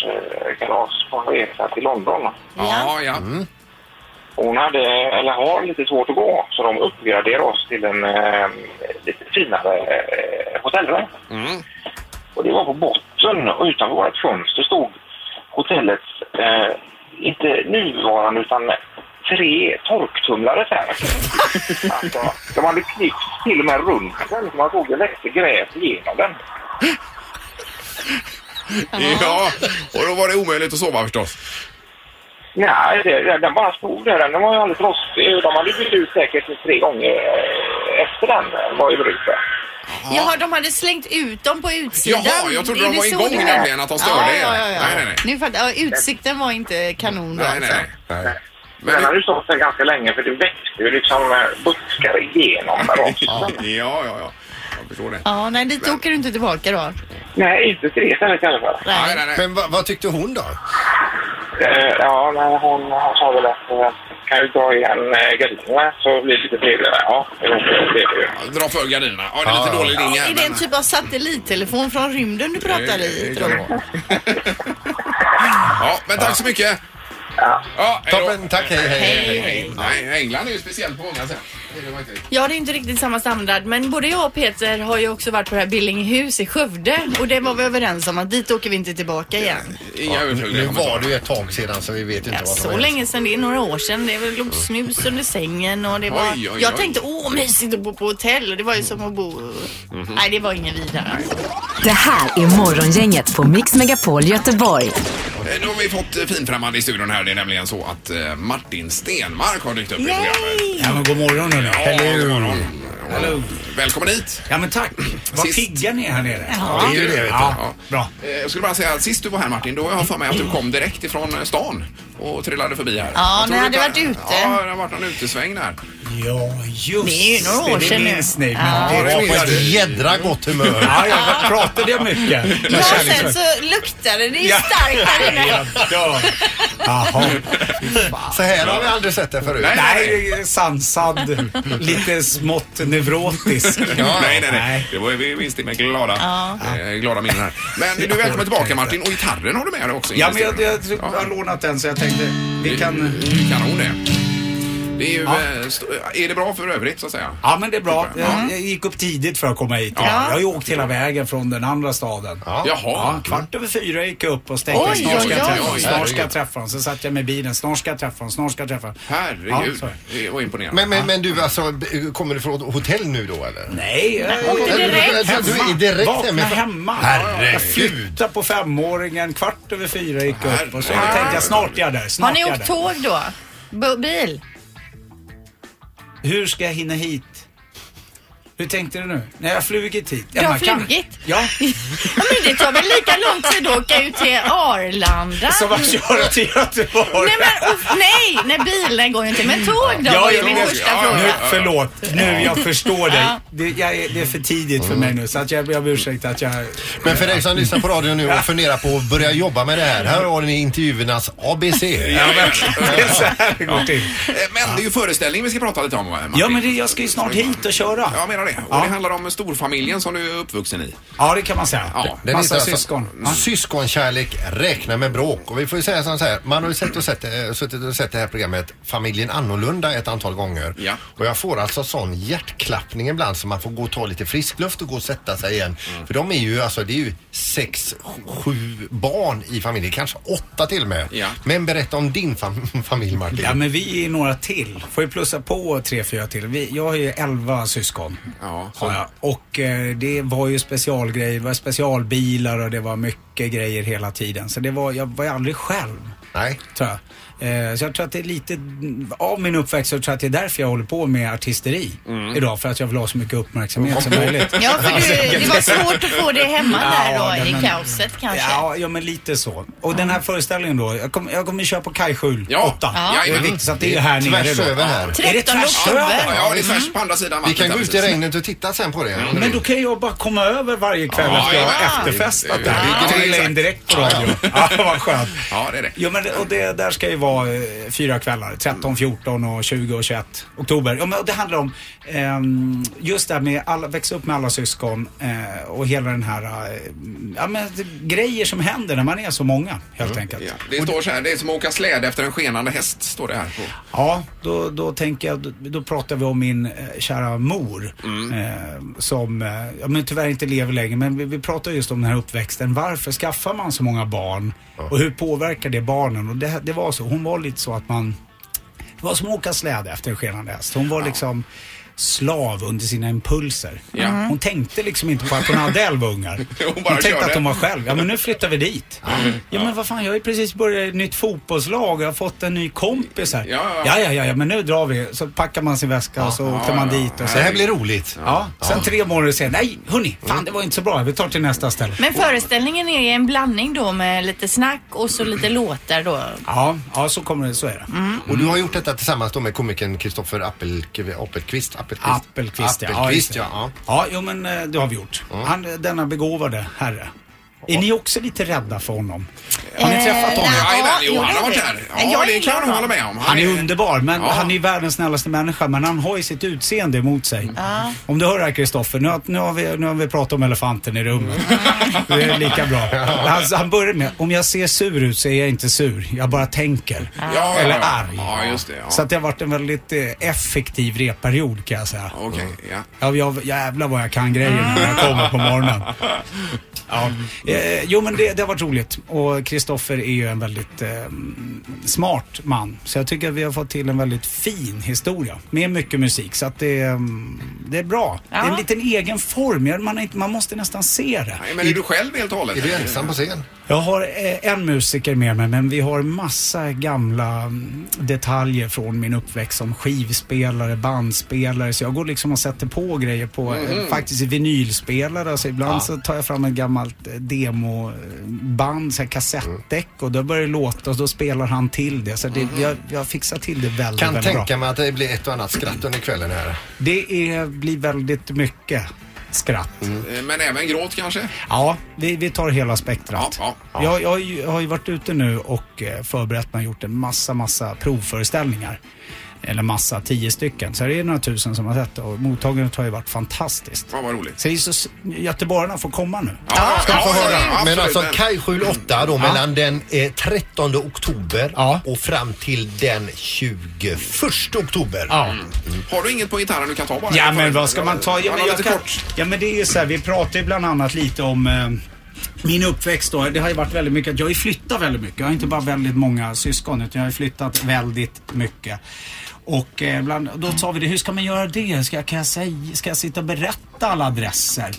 [SPEAKER 9] 80-årskalas på en resa till London.
[SPEAKER 1] Ja, Mm. ja.
[SPEAKER 9] Hon hade, eller har, lite svårt att gå så de uppgraderade oss till en eh, lite finare eh, hotellrum.
[SPEAKER 1] Mm.
[SPEAKER 9] Och det var på botten och utanför vårt fönster stod hotellets, eh, inte nuvarande utan tre torktumlare så här. Alltså, de hade klippt till och med rumpen så man såg det växte gräs igenom den.
[SPEAKER 1] Ja, och då var det omöjligt att sova förstås.
[SPEAKER 9] Nej, det, det- den bara stod där. Den var ju alldeles rostig. De hade bytt ut säkert tre gånger eh, efter den eh, var i bruk.
[SPEAKER 3] Jaha, de hade slängt ut dem på utsidan.
[SPEAKER 1] Jaha, jag trodde
[SPEAKER 3] Är
[SPEAKER 1] de
[SPEAKER 3] det
[SPEAKER 1] var
[SPEAKER 3] så
[SPEAKER 1] igång
[SPEAKER 3] det
[SPEAKER 1] nämligen, att de störde
[SPEAKER 3] ja,
[SPEAKER 1] er.
[SPEAKER 3] ja, ja, ja.
[SPEAKER 1] Nej, nej, nej.
[SPEAKER 3] Nu fattar jag. Ja, Utsikten var inte kanon då
[SPEAKER 1] Nej, nej,
[SPEAKER 3] alltså.
[SPEAKER 1] nej.
[SPEAKER 2] Nej.
[SPEAKER 1] Men-
[SPEAKER 9] den hade ju stått där ganska länge för det växte ju liksom eh, buskar igenom den
[SPEAKER 1] Ja,
[SPEAKER 9] också.
[SPEAKER 1] ja, ja. Jag förstår det.
[SPEAKER 3] Ja, nej, dit åker du inte tillbaka då.
[SPEAKER 9] Nej, inte till det stället i alla fall.
[SPEAKER 1] Nej, nej, nej.
[SPEAKER 2] Men vad- vad tyckte hon då?
[SPEAKER 9] Eh, Ja, men hon hon sa väl att eh, kan du dra igen eh, gardinerna så blir det lite trevligare. Ja, det blir det ju.
[SPEAKER 1] Dra för gardinerna. Ja, det är lite
[SPEAKER 2] Ja,
[SPEAKER 1] dålig linje.
[SPEAKER 3] Ja, är det en
[SPEAKER 1] men-
[SPEAKER 3] typ av satellittelefon från rymden du pratar
[SPEAKER 1] Det
[SPEAKER 3] i? tror
[SPEAKER 1] kan det
[SPEAKER 3] jag?
[SPEAKER 1] vara. Ja, men tack så mycket. Ja, hej då.
[SPEAKER 2] Toppen, tack, hej, hej.
[SPEAKER 1] Nej, England är ju speciellt på många sätt. Det är det verkligen.
[SPEAKER 3] Ja, det är inte riktigt samma standard, men både jag och Peter har ju också varit på det här Billinghus i Skövde och det var vi överens om att dit åker vi inte tillbaka igen.
[SPEAKER 1] Inga överflugna
[SPEAKER 2] Nu var
[SPEAKER 1] kommentarer.
[SPEAKER 2] det ju ett tag sedan så vi vet inte
[SPEAKER 3] Ja,
[SPEAKER 2] vad som
[SPEAKER 3] så
[SPEAKER 2] har hänt.
[SPEAKER 3] länge sedan, det är några år sedan. Det väl- låg snus under sängen och det var...
[SPEAKER 1] Oj, oj, oj.
[SPEAKER 3] Jag tänkte, åh mysigt att bo på hotell och det var ju som att bo... Nej, det var ingen vidare alltså.
[SPEAKER 4] Det här är Morgongänget på Mix Megapol Göteborg.
[SPEAKER 1] Eh, Nu har vi fått eh, finfrämmande i studion här. Det är nämligen så att eh, Martin Stenmark har dykt upp i programmet.
[SPEAKER 10] Ja, men god morgon hörni.
[SPEAKER 1] Ja, god morgon.
[SPEAKER 10] Hello.
[SPEAKER 1] Välkommen hit!
[SPEAKER 10] Ja, men tack.
[SPEAKER 1] Sist-
[SPEAKER 10] Vad pigga ni är här nere.
[SPEAKER 2] Det är ju det, vet du.
[SPEAKER 10] Ja, bra.
[SPEAKER 1] Eh, Jag skulle bara säga att sist du var här Martin, då har jag för mig att du kom direkt ifrån eh, stan och trillade förbi här.
[SPEAKER 3] Ja,
[SPEAKER 1] Jag tror
[SPEAKER 3] ni
[SPEAKER 1] du
[SPEAKER 3] hade
[SPEAKER 1] kan-
[SPEAKER 3] varit ute.
[SPEAKER 1] Ja, det har varit någon utesväng där.
[SPEAKER 10] Ja, just
[SPEAKER 3] Det är ju några år
[SPEAKER 10] det.
[SPEAKER 3] sedan nu.
[SPEAKER 10] Det minns ni. Men
[SPEAKER 3] Ja.
[SPEAKER 10] det
[SPEAKER 2] Jag
[SPEAKER 10] var
[SPEAKER 2] var på
[SPEAKER 10] på
[SPEAKER 2] ett jädra gott humör.
[SPEAKER 10] Ja, jag pratade jag mycket. Med
[SPEAKER 3] Ja, sen
[SPEAKER 10] kärleksfull-
[SPEAKER 3] så luktade det ju starkt här inne.
[SPEAKER 10] Jag dör. Jaha.
[SPEAKER 2] Så här har vi aldrig sett det förut.
[SPEAKER 1] Nej.
[SPEAKER 10] Nej, sansad. Lite smått neurotisk.
[SPEAKER 1] nej, nej, nej. Det var vi visst det med glada, eh, glada minnen här. Men du är välkommen tillbaka Martin och gitarren har du med dig också.
[SPEAKER 10] Ja, men jag, jag,
[SPEAKER 1] investerat.
[SPEAKER 10] jag har lånat den så jag tänkte vi kan...
[SPEAKER 1] Det är ju kanon det. Det är ju... eh, st- Är det bra för övrigt så att säga?
[SPEAKER 10] Ja men det är bra.
[SPEAKER 1] Tycker jag.
[SPEAKER 10] Jag, jag gick upp tidigt för att komma hit.
[SPEAKER 1] Ja.
[SPEAKER 10] Jag har ju åkt hela vägen från den andra staden.
[SPEAKER 2] Ja.
[SPEAKER 1] Jaha.
[SPEAKER 10] Ja, kvart över fyra gick jag upp och tänkte
[SPEAKER 3] Oj,
[SPEAKER 10] snart ska jag
[SPEAKER 3] oj, oj.
[SPEAKER 10] träffa honom, snart ska jag träffa honom. Så satt jag med bilen, snart ska jag träffa honom, snart ska jag träffa honom. Ja,
[SPEAKER 1] Herregud.
[SPEAKER 10] så.
[SPEAKER 1] det var imponerande.
[SPEAKER 2] Men, men, men du, alltså, kommer du från ett hotell nu då eller?
[SPEAKER 10] Nej, jag
[SPEAKER 2] Du- du- Du, du är direkt
[SPEAKER 10] Vakna
[SPEAKER 2] hemifrån.
[SPEAKER 10] hemma. Jag
[SPEAKER 2] Herregud.
[SPEAKER 10] flyttade på femåringen, kvart över fyra gick jag upp och så
[SPEAKER 1] Herregud.
[SPEAKER 10] tänkte jag snart är jag där, snart
[SPEAKER 3] Har ni
[SPEAKER 10] är jag
[SPEAKER 3] åkt
[SPEAKER 10] där.
[SPEAKER 3] tåg då? Bu- Bil?
[SPEAKER 10] Hur ska jag hinna hit? Hur tänkte du nu? När jag har flugit hit? Ja,
[SPEAKER 3] Du har
[SPEAKER 10] man kan-
[SPEAKER 3] flugit?
[SPEAKER 10] Ja.
[SPEAKER 3] Ja, men det tar väl lika lång tid att åka ut till Arlanda?
[SPEAKER 10] Som att köra till Göteborg.
[SPEAKER 3] Nej, men uff, nej, nej, bilen går ju inte. Men tåg då
[SPEAKER 10] Ja,
[SPEAKER 3] var ju
[SPEAKER 10] jag
[SPEAKER 3] min
[SPEAKER 10] vet.
[SPEAKER 3] första
[SPEAKER 1] Ja,
[SPEAKER 3] fråga.
[SPEAKER 10] Nu, förlåt, nu jag förstår dig. Det, jag, är- det är för tidigt för mig nu så att jag ber om ursäkt att jag...
[SPEAKER 2] Men för dig som lyssnar på radion nu och funderar på att börja jobba med det här. Här har ni intervjuernas ABC.
[SPEAKER 10] Ja, men, det är så här det går till.
[SPEAKER 1] Eh, Men det är ju föreställning vi ska prata lite om va, Martin.
[SPEAKER 10] Ja men det, jag ska ju snart hit och köra.
[SPEAKER 1] Ja, menar göra det. Och det handlar om storfamiljen som du är uppvuxen i.
[SPEAKER 10] Ja, det kan man säga.
[SPEAKER 1] Ja.
[SPEAKER 2] Den
[SPEAKER 10] Massa
[SPEAKER 2] heter
[SPEAKER 10] syskon.
[SPEAKER 2] Alltså, Syskonkärlek räkna med bråk. Och vi får ju säga som så här. Man har ju sett och sett, eh, suttit och sett det här programmet Familjen Annorlunda ett antal gånger.
[SPEAKER 1] Ja.
[SPEAKER 2] Och jag får alltså sån hjärtklappning ibland så man får gå och ta lite frisk luft och gå och sätta sig igen.
[SPEAKER 10] Mm.
[SPEAKER 2] För de är ju alltså, det är ju sex, sju barn i familjen. Kanske åtta till och med.
[SPEAKER 1] Ja.
[SPEAKER 2] Men berätta om din fam- familj Martin.
[SPEAKER 10] Ja, men vi är några till. Får ju plussa på tre, fyra till. Vi, jag har ju elva syskon.
[SPEAKER 1] Ja, så-
[SPEAKER 10] har jag. Och eh, det var ju specialgrejer, det var specialbilar och det var mycket grejer hela tiden. Så det var, jag var ju aldrig själv,
[SPEAKER 2] Nej.
[SPEAKER 10] tror jag. Eh, så jag tror att det är lite, av min uppväxt så tror jag att det är därför jag håller på med artisteri idag. För att jag vill ha så mycket uppmärksamhet som möjligt.
[SPEAKER 3] Ja, för du, det var svårt att få det hemma där
[SPEAKER 10] Alltså, Ja,
[SPEAKER 3] då
[SPEAKER 10] nej, men-
[SPEAKER 3] i kaoset kanske.
[SPEAKER 10] Ja, ja, men lite så. Och den här föreställningen då, jag kommer jag kommer köra på Kaj Schul,
[SPEAKER 1] Ja.
[SPEAKER 10] 8.
[SPEAKER 1] Ja.
[SPEAKER 10] Det är
[SPEAKER 1] Jajamän.
[SPEAKER 10] viktigt, så att det är här nere
[SPEAKER 2] Tvärs
[SPEAKER 10] då.
[SPEAKER 2] över här.
[SPEAKER 10] Är det
[SPEAKER 3] 13
[SPEAKER 10] tvärs
[SPEAKER 3] oktober?
[SPEAKER 10] över?
[SPEAKER 1] Ja, ja, det är tvärs på andra sidan
[SPEAKER 2] Mm. Vi
[SPEAKER 1] vattnet
[SPEAKER 2] kan
[SPEAKER 1] där
[SPEAKER 2] gå ut i
[SPEAKER 1] precis.
[SPEAKER 2] regnet och titta sen på det.
[SPEAKER 10] Men då kan jag bara komma över varje kväll
[SPEAKER 1] Ja,
[SPEAKER 10] efter jag har
[SPEAKER 1] ja, ja.
[SPEAKER 10] efterfestat
[SPEAKER 1] Det-
[SPEAKER 10] där.
[SPEAKER 1] det- det-
[SPEAKER 10] Och trilla
[SPEAKER 1] exakt.
[SPEAKER 10] in direkt på radio. Ja, vad skönt.
[SPEAKER 1] Ja, det är det.
[SPEAKER 10] Jo, men det, och det där ska ju vara eh, fyra kvällar. 13, 14, och 20 och 21 oktober. Ja, men och det handlar om ehm, just det här med alla, växa upp med alla syskon eh, och hela den här eh, ja, men, det- grejer som händer när man är så många helt enkelt.
[SPEAKER 1] Ja, det står så här, det är som att åka släde efter en skenande häst, står det här. På.
[SPEAKER 10] Ja, då, då tänker jag, då, då pratar vi om min eh, kära mor eh, som eh, ja, men tyvärr inte lever längre. Men vi, vi pratar just om den här uppväxten. Varför skaffar man så många barn? Och hur påverkar det barnen? Och det, det var så, hon var lite så att man, det var som att åka släde efter en skenande häst. Hon var liksom slav under sina impulser.
[SPEAKER 1] Ja. Mm.
[SPEAKER 10] Hon tänkte liksom inte på att hon hade elva ungar.
[SPEAKER 1] Hon
[SPEAKER 10] Hon,
[SPEAKER 1] bara
[SPEAKER 10] tänkte
[SPEAKER 1] körde.
[SPEAKER 10] att hon var själv. Ja men nu flyttar vi dit. Ja men vad fan jag har ju precis börjat ett nytt fotbollslag och jag har fått en ny kompis här.
[SPEAKER 1] Ja, ja, ja.
[SPEAKER 10] ja, ja, ja, ja men nu drar vi. Så packar man sin väska och så åker man dit. Och så.
[SPEAKER 2] Det här blir roligt.
[SPEAKER 10] Ja, sen tre månader senare. Nej hörni, fan det var inte så bra. Vi tar till nästa ställe.
[SPEAKER 3] Men föreställningen är en blandning då med lite snack och så lite låtar då.
[SPEAKER 10] Ja, ja så kommer det, så är det.
[SPEAKER 2] Och du har gjort detta tillsammans då med komikern Kristoffer Appelqvist. Appelqvist, Appelqvist,
[SPEAKER 10] Appelqvist, ja.
[SPEAKER 2] ja.
[SPEAKER 10] just det. ja, jo men eh, det har vi gjort. Han, eh, denna begåvade herre. Är ni också lite rädda för honom? Har ni träffat honom?
[SPEAKER 3] Eh, nej.
[SPEAKER 1] Jajamän,
[SPEAKER 3] jo,
[SPEAKER 1] jo, han har
[SPEAKER 3] det är
[SPEAKER 1] varit
[SPEAKER 3] det.
[SPEAKER 1] här.
[SPEAKER 3] Nej,
[SPEAKER 1] Ja,
[SPEAKER 3] jag
[SPEAKER 1] det
[SPEAKER 3] är
[SPEAKER 1] kan
[SPEAKER 3] glad.
[SPEAKER 1] jag hålla med om.
[SPEAKER 10] Han är underbar, men
[SPEAKER 1] Ja.
[SPEAKER 10] han är världens snällaste människa. Men han har ju sitt utseende emot sig.
[SPEAKER 1] Mm.
[SPEAKER 10] Om du hör det här Kristoffer, nu, har- nu, har vi- nu har vi pratat om elefanten i rummet.
[SPEAKER 1] Mm.
[SPEAKER 10] Det är lika bra. Han, han börjar med, om jag ser sur ut så är jag inte sur. Jag bara tänker.
[SPEAKER 1] ja,
[SPEAKER 10] Eller
[SPEAKER 1] ja.
[SPEAKER 10] arg.
[SPEAKER 1] Ja, just det. Ja.
[SPEAKER 10] Så att det har varit en väldigt eh, effektiv repperiod kan jag säga.
[SPEAKER 1] Okej, ja.
[SPEAKER 10] Ja, jag, jävlar vad jag kan grejer när jag kommer på morgonen. Ja. Eh, jo, men det, det har varit roligt. Och Kristoffer är ju en väldigt eh, smart man. Så jag tycker att vi har fått till en väldigt fin historia med mycket musik. Så att det, eh, det är bra. Det är en liten egen form. Jag- Man, är inte, man måste nästan se det.
[SPEAKER 1] Nej, men är du själv helt och hållet?
[SPEAKER 2] Är du ensam på scen?
[SPEAKER 10] Jag har eh, en musiker med mig, men vi har massa gamla mm, detaljer från min uppväxt som skivspelare, bandspelare. Så jag går liksom och sätter på grejer på eh,
[SPEAKER 2] Mhm.
[SPEAKER 10] faktiskt vinylspelare. Alltså ibland så tar jag fram ett gammalt eh, demoband, så här kassettdäck
[SPEAKER 2] Mm.
[SPEAKER 10] och då börjar det låta och då spelar han till det. Så det, jag, jag fixar till det väldigt,
[SPEAKER 2] Mhm. Kan
[SPEAKER 10] väldigt bra.
[SPEAKER 2] tänka mig att det blir ett och annat skratt under kvällen här.
[SPEAKER 10] Det är, blir väldigt mycket skratt.
[SPEAKER 2] Mm.
[SPEAKER 1] Eh, Men även gråt kanske?
[SPEAKER 10] Ja, vi, vi tar hela spektrat.
[SPEAKER 1] Ja, ja,
[SPEAKER 10] Jag, jag har ju- har ju varit ute nu och eh, förberett mig och gjort en massa, massa provföreställningar. Eller massa, tio stycken. Så det är några tusen som har sett det och mottagandet har ju varit fantastiskt.
[SPEAKER 1] Fan vad roligt.
[SPEAKER 10] Så det är så, s- göteborgarna får komma nu.
[SPEAKER 1] Ja,
[SPEAKER 2] Ska
[SPEAKER 1] ja,
[SPEAKER 2] få
[SPEAKER 1] ja,
[SPEAKER 2] höra. Men
[SPEAKER 1] absolut,
[SPEAKER 2] alltså
[SPEAKER 1] men-
[SPEAKER 2] Kaj 8 då mellan den eh, 13 oktober
[SPEAKER 10] Ja.
[SPEAKER 2] och fram till den 21 oktober.
[SPEAKER 10] Ja.
[SPEAKER 1] Har du inget på gitarren du kan ta bara?
[SPEAKER 10] Ja men vad ska man ta? Ja, men,
[SPEAKER 1] jag
[SPEAKER 10] jag
[SPEAKER 1] lite
[SPEAKER 10] kan,
[SPEAKER 1] kort.
[SPEAKER 10] ja, men det är ju så här, vi pratar ju bland annat lite om eh, min uppväxt då. Det har ju varit väldigt mycket, att jag har ju flyttat väldigt mycket. Jag har inte bara väldigt många syskon utan jag har ju flyttat väldigt mycket. Och eh, bland, då sa vi det, hur ska man göra det? Ska, jag- kan jag säga, ska jag sitta och berätta alla adresser?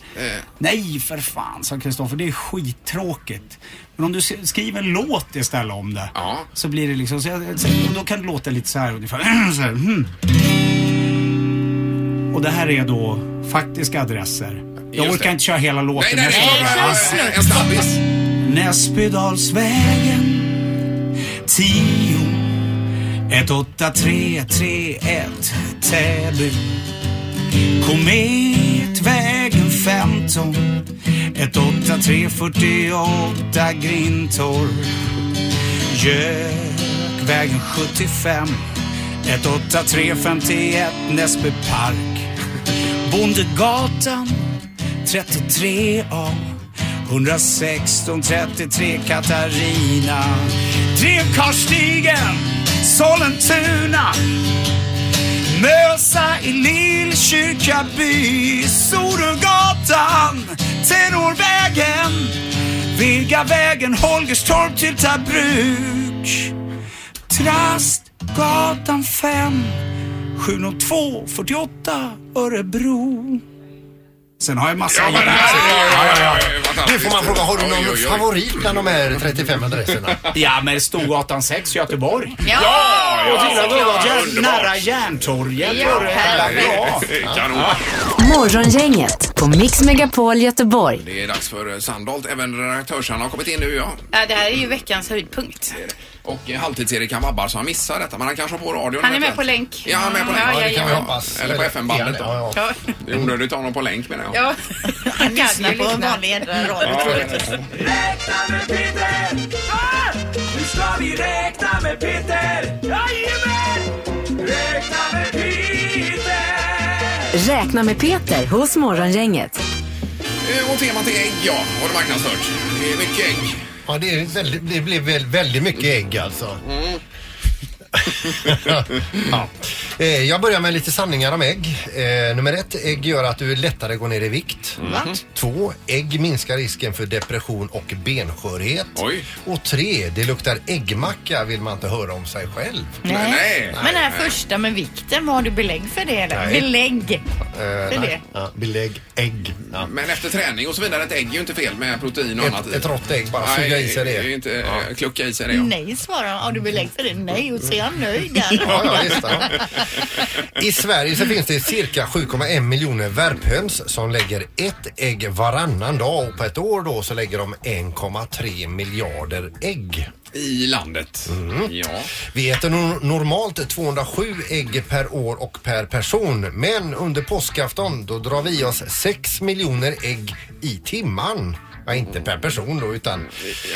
[SPEAKER 10] Nej för fan, sa Kristoffer, det är skittråkigt. Men om du s- skriver en låt istället om det.
[SPEAKER 1] Ja.
[SPEAKER 10] Så blir det liksom, så jag, så, och då kan det låta lite så här ungefär. Så här, hmm. Och det här är då faktiska adresser. Jag
[SPEAKER 1] Just
[SPEAKER 10] orkar
[SPEAKER 1] det.
[SPEAKER 10] inte köra hela låten.
[SPEAKER 1] Nej, nej,
[SPEAKER 10] Jag kör bara-
[SPEAKER 1] nej, nej. En snabbis.
[SPEAKER 10] Näsbydalsvägen 10 18331 Täby Kometvägen 15 18348 Grintorp Jökvägen 75 18351 Näsby park
[SPEAKER 11] Bondegatan 33A 116 33 Katarina Drevkarlsstigen Sollentuna Mösa i Lillkyrka by Sorugatan Tenorvägen Vigavägen Holgerstorp till Tabruk Trastgatan 5 702 48 Örebro Sen har jag massa
[SPEAKER 2] Ja, men
[SPEAKER 11] adresser.
[SPEAKER 2] Nu får man fråga, har du någon favorit bland de här 35 adresserna?
[SPEAKER 11] Ja, men Storgatan 6 i Göteborg.
[SPEAKER 2] Ja!
[SPEAKER 11] Och till och med
[SPEAKER 2] Ja,
[SPEAKER 11] jär-
[SPEAKER 2] underbart.
[SPEAKER 11] nära Järntorget.
[SPEAKER 2] Ja,
[SPEAKER 11] var det här.
[SPEAKER 2] bra.
[SPEAKER 1] Kanon.
[SPEAKER 4] Morgongänget på Mix Megapol Göteborg.
[SPEAKER 1] Det är dags för eh, Sandholt. Även redaktörsarna har kommit in nu, ja.
[SPEAKER 5] Ja, det här är ju veckans höjdpunkt.
[SPEAKER 1] Och eh, halvtids-Erik han vabbar så han missar detta. Men han kanske har på radion.
[SPEAKER 5] Han är med
[SPEAKER 1] eventuellt.
[SPEAKER 5] på länk.
[SPEAKER 1] Ja, han är med på länk.
[SPEAKER 5] Ja, ja, ja.
[SPEAKER 1] Eller på FM-bandet då.
[SPEAKER 2] Ja,
[SPEAKER 5] ja.
[SPEAKER 1] Det är onödigt att ha honom på länk menar jag.
[SPEAKER 5] Ja.
[SPEAKER 3] Han lyssnar på vanlig jädra radio. tror jag.
[SPEAKER 11] Nu ska vi räkna med Peter! Jajamän! Räkna med Peter!
[SPEAKER 4] Räkna med Peter hos Morgongänget.
[SPEAKER 1] Eh, Och temat är ägg, ja. Har du marknadsfört? Det är mycket ägg.
[SPEAKER 2] Ja, det, är väldigt, det blev väl, väldigt mycket ägg alltså. ja. Eh, Jag börjar med lite sanningar om ägg. Eh, Nummer ett, ägg gör att du lättare går ner i vikt.
[SPEAKER 3] Mm.
[SPEAKER 11] Va?
[SPEAKER 2] Två, ägg minskar risken för depression och benskörhet. Och tre, det luktar äggmacka vill man inte höra om sig själv.
[SPEAKER 3] Men den här första med vikten, vad har du belägg för det eller?
[SPEAKER 2] Nej.
[SPEAKER 3] Belägg?
[SPEAKER 2] Eh,
[SPEAKER 3] är
[SPEAKER 2] nej.
[SPEAKER 3] det.
[SPEAKER 2] Ja, belägg ägg. Ja.
[SPEAKER 1] Men efter träning och så vidare, ett ägg är ju inte fel med protein och
[SPEAKER 2] Ett-
[SPEAKER 1] annat. i.
[SPEAKER 2] ett rått ägg, bara
[SPEAKER 1] Nej,
[SPEAKER 2] suga i sig det.
[SPEAKER 1] är ju inte, eh, Klucka i sig det. ja.
[SPEAKER 3] Nej, svarar han. Har du belägg för det? Nej, och så är han nöjd där.
[SPEAKER 2] Ja, ja, visst, ja. I Sverige så finns det cirka 7,1 miljoner värphöns som lägger ett ägg varannan dag och på ett år då så lägger de 1,3 miljarder ägg.
[SPEAKER 1] I landet.
[SPEAKER 11] Mm.
[SPEAKER 1] Ja.
[SPEAKER 2] Vi äter no- normalt 207 ägg per år och per person men under påskafton då drar vi oss 6 miljoner ägg i timman. Ja, inte per person då utan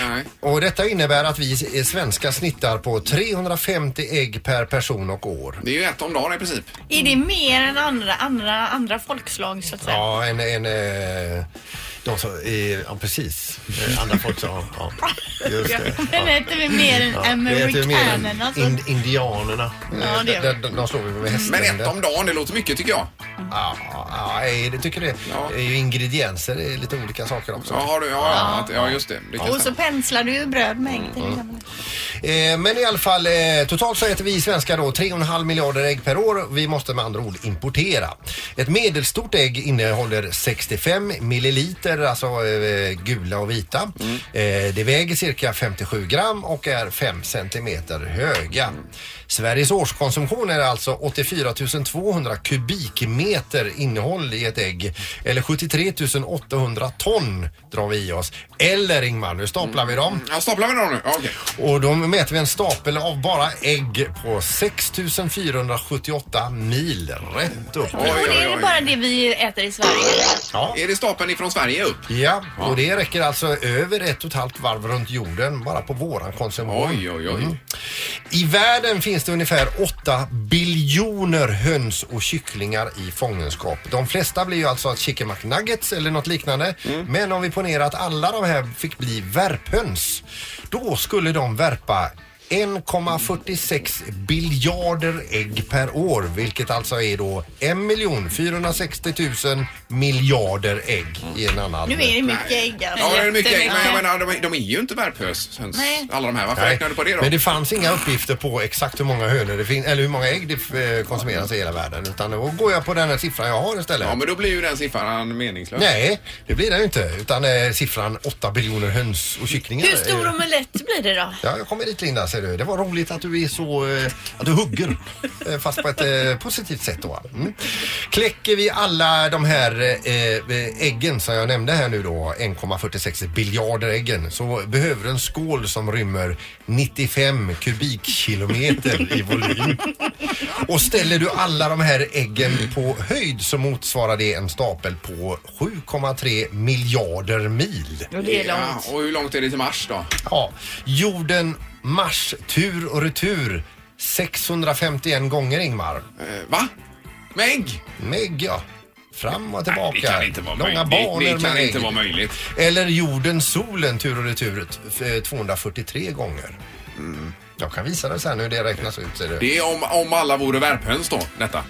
[SPEAKER 1] Nej.
[SPEAKER 2] och detta innebär att vi s- svenskar snittar på 350 ägg per person och år.
[SPEAKER 1] Det är ju ett om dagen i princip.
[SPEAKER 3] Är det mer än andra, andra, andra folkslag så att säga?
[SPEAKER 2] Ja, en... en eh, de som, eh, ja, precis. Eh, Andra folk sa... Ja, just det.
[SPEAKER 3] Men äter vi mer än
[SPEAKER 2] Ja, det heter ju mer än
[SPEAKER 3] amerikanerna? Alltså.
[SPEAKER 2] in, indianerna.
[SPEAKER 3] Ja, det gör
[SPEAKER 2] de, de, de slår vi med hästen.
[SPEAKER 1] Men ett om dagen, det låter mycket tycker jag.
[SPEAKER 2] Ja, ja, jag det tycker det. Det är ju ingredienser, det är lite olika saker också.
[SPEAKER 1] Ja, har du, ja, ja. att- ja just det. det kan
[SPEAKER 3] Och så penslar du ju bröd med ägg till
[SPEAKER 2] Mm.
[SPEAKER 3] exempel.
[SPEAKER 2] Eh, Men i alla fall, eh, totalt så äter vi svenskar då 3,5 miljarder ägg per år. Vi måste med andra ord importera. Ett medelstort ägg innehåller 65 milliliter, alltså eh, gula och vita. Eh, Det väger cirka 57 gram och är 5 centimeter höga. Sveriges årskonsumtion är alltså 84 200 kubikmeter innehåll i ett ägg. Eller 73 800 ton drar vi i oss. Eller Ingmar, nu staplar vi dem.
[SPEAKER 1] Ja, staplar vi dem nu? Ja, okej.
[SPEAKER 2] Och då mäter vi en stapel av bara ägg på 6478 mil rätt upp.
[SPEAKER 3] Och det är ju bara det vi äter i Sverige.
[SPEAKER 2] Ja.
[SPEAKER 1] Är det stapeln ifrån Sverige upp?
[SPEAKER 2] Ja, och det räcker alltså över ett och ett halvt varv runt jorden bara på våran konsumtion.
[SPEAKER 1] Oj, oj, oj.
[SPEAKER 2] I världen finns det ungefär 8 biljoner höns och kycklingar i fångenskap. De flesta blir ju alltså chicken McNuggets eller något liknande. Men om vi ponerar att alla de här fick bli värphöns, då skulle de värpa 1,46 biljarder ägg per år, vilket alltså är då 1 460 000 miljarder ägg i en annan.
[SPEAKER 3] Nu är det mycket ägg alltså.
[SPEAKER 1] Ja,
[SPEAKER 2] Mm.
[SPEAKER 1] det är mycket ägg, men
[SPEAKER 3] Jättemycket.
[SPEAKER 1] jag menar, de, de är ju inte värphöns, höns,
[SPEAKER 3] Nej.
[SPEAKER 1] alla de här. Varför
[SPEAKER 2] Nej,
[SPEAKER 1] räknar du på det då?
[SPEAKER 2] Men det fanns inga uppgifter på exakt hur många hönor det finns, eller hur många ägg det eh, konsumeras i hela världen. Utan då går jag på den här siffran jag har istället.
[SPEAKER 1] Ja, men då blir ju den siffran meningslös.
[SPEAKER 2] Nej, det blir det ju inte. Utan eh, siffran 8 biljoner höns och kycklingar.
[SPEAKER 3] Hur stor
[SPEAKER 2] eh,
[SPEAKER 3] omelett blir det då?
[SPEAKER 2] Ja, jag kommer dit Linda, ser du. Det var roligt att du är så... Eh, att du hugger. Eh, Fast på ett eh, positivt sätt då. Mm. Kläcker vi alla de här eh, eh, äggen som jag nämnde här nu då, 1,46 biljarder äggen, så behöver du en skål som rymmer 95 kubikkilometer i volym. Och ställer du alla de här äggen på höjd så motsvarar det en stapel på 7,3 miljarder mil.
[SPEAKER 1] Ja, och hur långt är det till Mars då?
[SPEAKER 2] Ja, jorden, Mars, tur och retur 651 gånger Ingmar.
[SPEAKER 1] va? Med ägg?
[SPEAKER 2] Med ägg, ja. Fram och
[SPEAKER 1] Nej,
[SPEAKER 2] tillbaka.
[SPEAKER 1] det kan inte vara
[SPEAKER 2] Långa
[SPEAKER 1] möjligt.
[SPEAKER 2] banor
[SPEAKER 1] Det, det kan
[SPEAKER 2] med
[SPEAKER 1] inte
[SPEAKER 2] regn.
[SPEAKER 1] vara möjligt.
[SPEAKER 2] Eller jorden, solen tur och retur eh, 243 gånger. Mm. Jag kan visa dig sen hur det räknas ut. Ser du.
[SPEAKER 1] Det är om, om alla vore värphöns då, detta.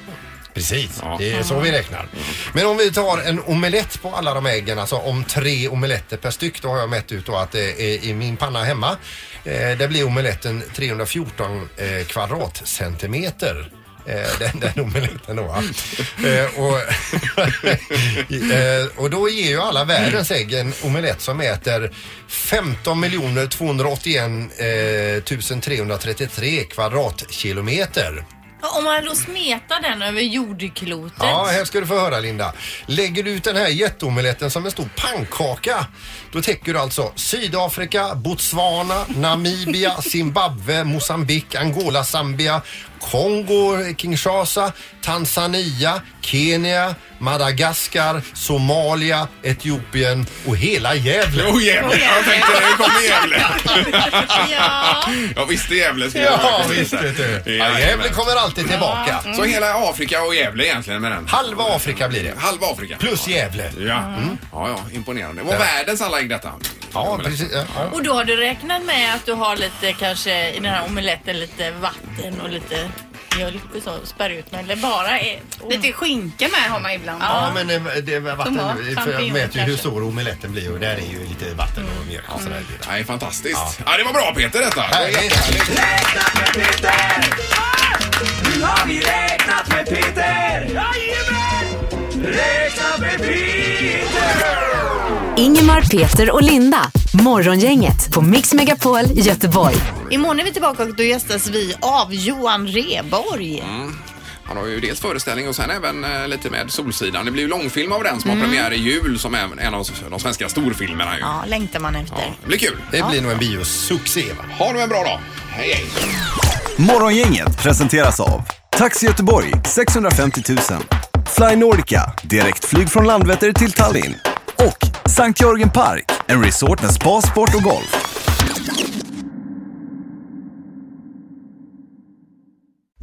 [SPEAKER 2] Precis, det är så vi räknar. Men om vi tar en omelett på alla de äggen, alltså om tre omeletter per styck, då har jag mätt ut då att eh, i min panna hemma, eh, där blir omeletten 314 eh, kvadratcentimeter. Eh, Den, den omeletten då. va? Eh, och, eh, och då ger ju alla världens ägg en omelett som äter 15 281 eh, 333 kvadratkilometer.
[SPEAKER 3] Om man då smetar den över jordklotet.
[SPEAKER 2] Ja, här ska du få höra Linda. Lägger du ut den här jätteomeletten som en stor pannkaka, då täcker du alltså Sydafrika, Botswana, Namibia, Zimbabwe, Mosambik, Angola, Zambia, Kongo, Kinshasa, Tanzania, Kenya, Madagaskar, Somalia, Etiopien och hela Gävle.
[SPEAKER 1] Jo, Gävle. Jag tänkte det kommer Gävle.
[SPEAKER 3] ja.
[SPEAKER 1] Jag visste Gävle skulle
[SPEAKER 2] Ja, visst vet du. Ja, Gävle kommer alltid tillbaka.
[SPEAKER 1] Så hela Afrika och Gävle egentligen med den?
[SPEAKER 2] Halva Afrika blir det.
[SPEAKER 1] Halva Afrika.
[SPEAKER 2] Plus Gävle.
[SPEAKER 1] Ja, ja, ja imponerande. Vad
[SPEAKER 2] Ja.
[SPEAKER 1] världens alla ägg detta.
[SPEAKER 2] Ja, precis. Ja, ja.
[SPEAKER 3] Och då har du räknat med att du har lite kanske i den här omeletten lite vatten och lite mjölk och så spär ut men Eller bara ett.
[SPEAKER 5] Lite skinka med har man ibland.
[SPEAKER 2] Ja, men eh, det var vatten,
[SPEAKER 5] Tomat,
[SPEAKER 2] för jag
[SPEAKER 5] champinjon
[SPEAKER 2] mäter ju hur
[SPEAKER 5] kanske.
[SPEAKER 2] stor omeletten blir och där är ju lite vatten och mjölk och sådär.
[SPEAKER 1] Nej, fantastiskt. Ja. det var bra Peter detta.
[SPEAKER 2] Härligt.
[SPEAKER 11] Nu har vi räknat med Peter! Jajamän! Räkna med Peter!
[SPEAKER 4] Ingemar, Peter och Linda. Morgongänget på Mix Megapol Göteborg.
[SPEAKER 3] Imorgon är vi tillbaka och då gästas vi av Johan Reborg.
[SPEAKER 1] Han har ju dels föreställning och sen även eh, lite med Solsidan. Det blir ju långfilm av den som har premiär i jul som är en av de svenska storfilmerna. Ju.
[SPEAKER 3] Ja, längtar man efter.
[SPEAKER 1] Det blir kul.
[SPEAKER 2] Det blir nog en biosuccé va?
[SPEAKER 1] Ha nu en bra dag. Hej, hej.
[SPEAKER 12] Morgongänget presenteras av Taxi Göteborg 650 000 Fly Nordica, direktflyg från Landvetter till Tallinn och Sankt Jörgen Park, en resort med spa, sport och golf.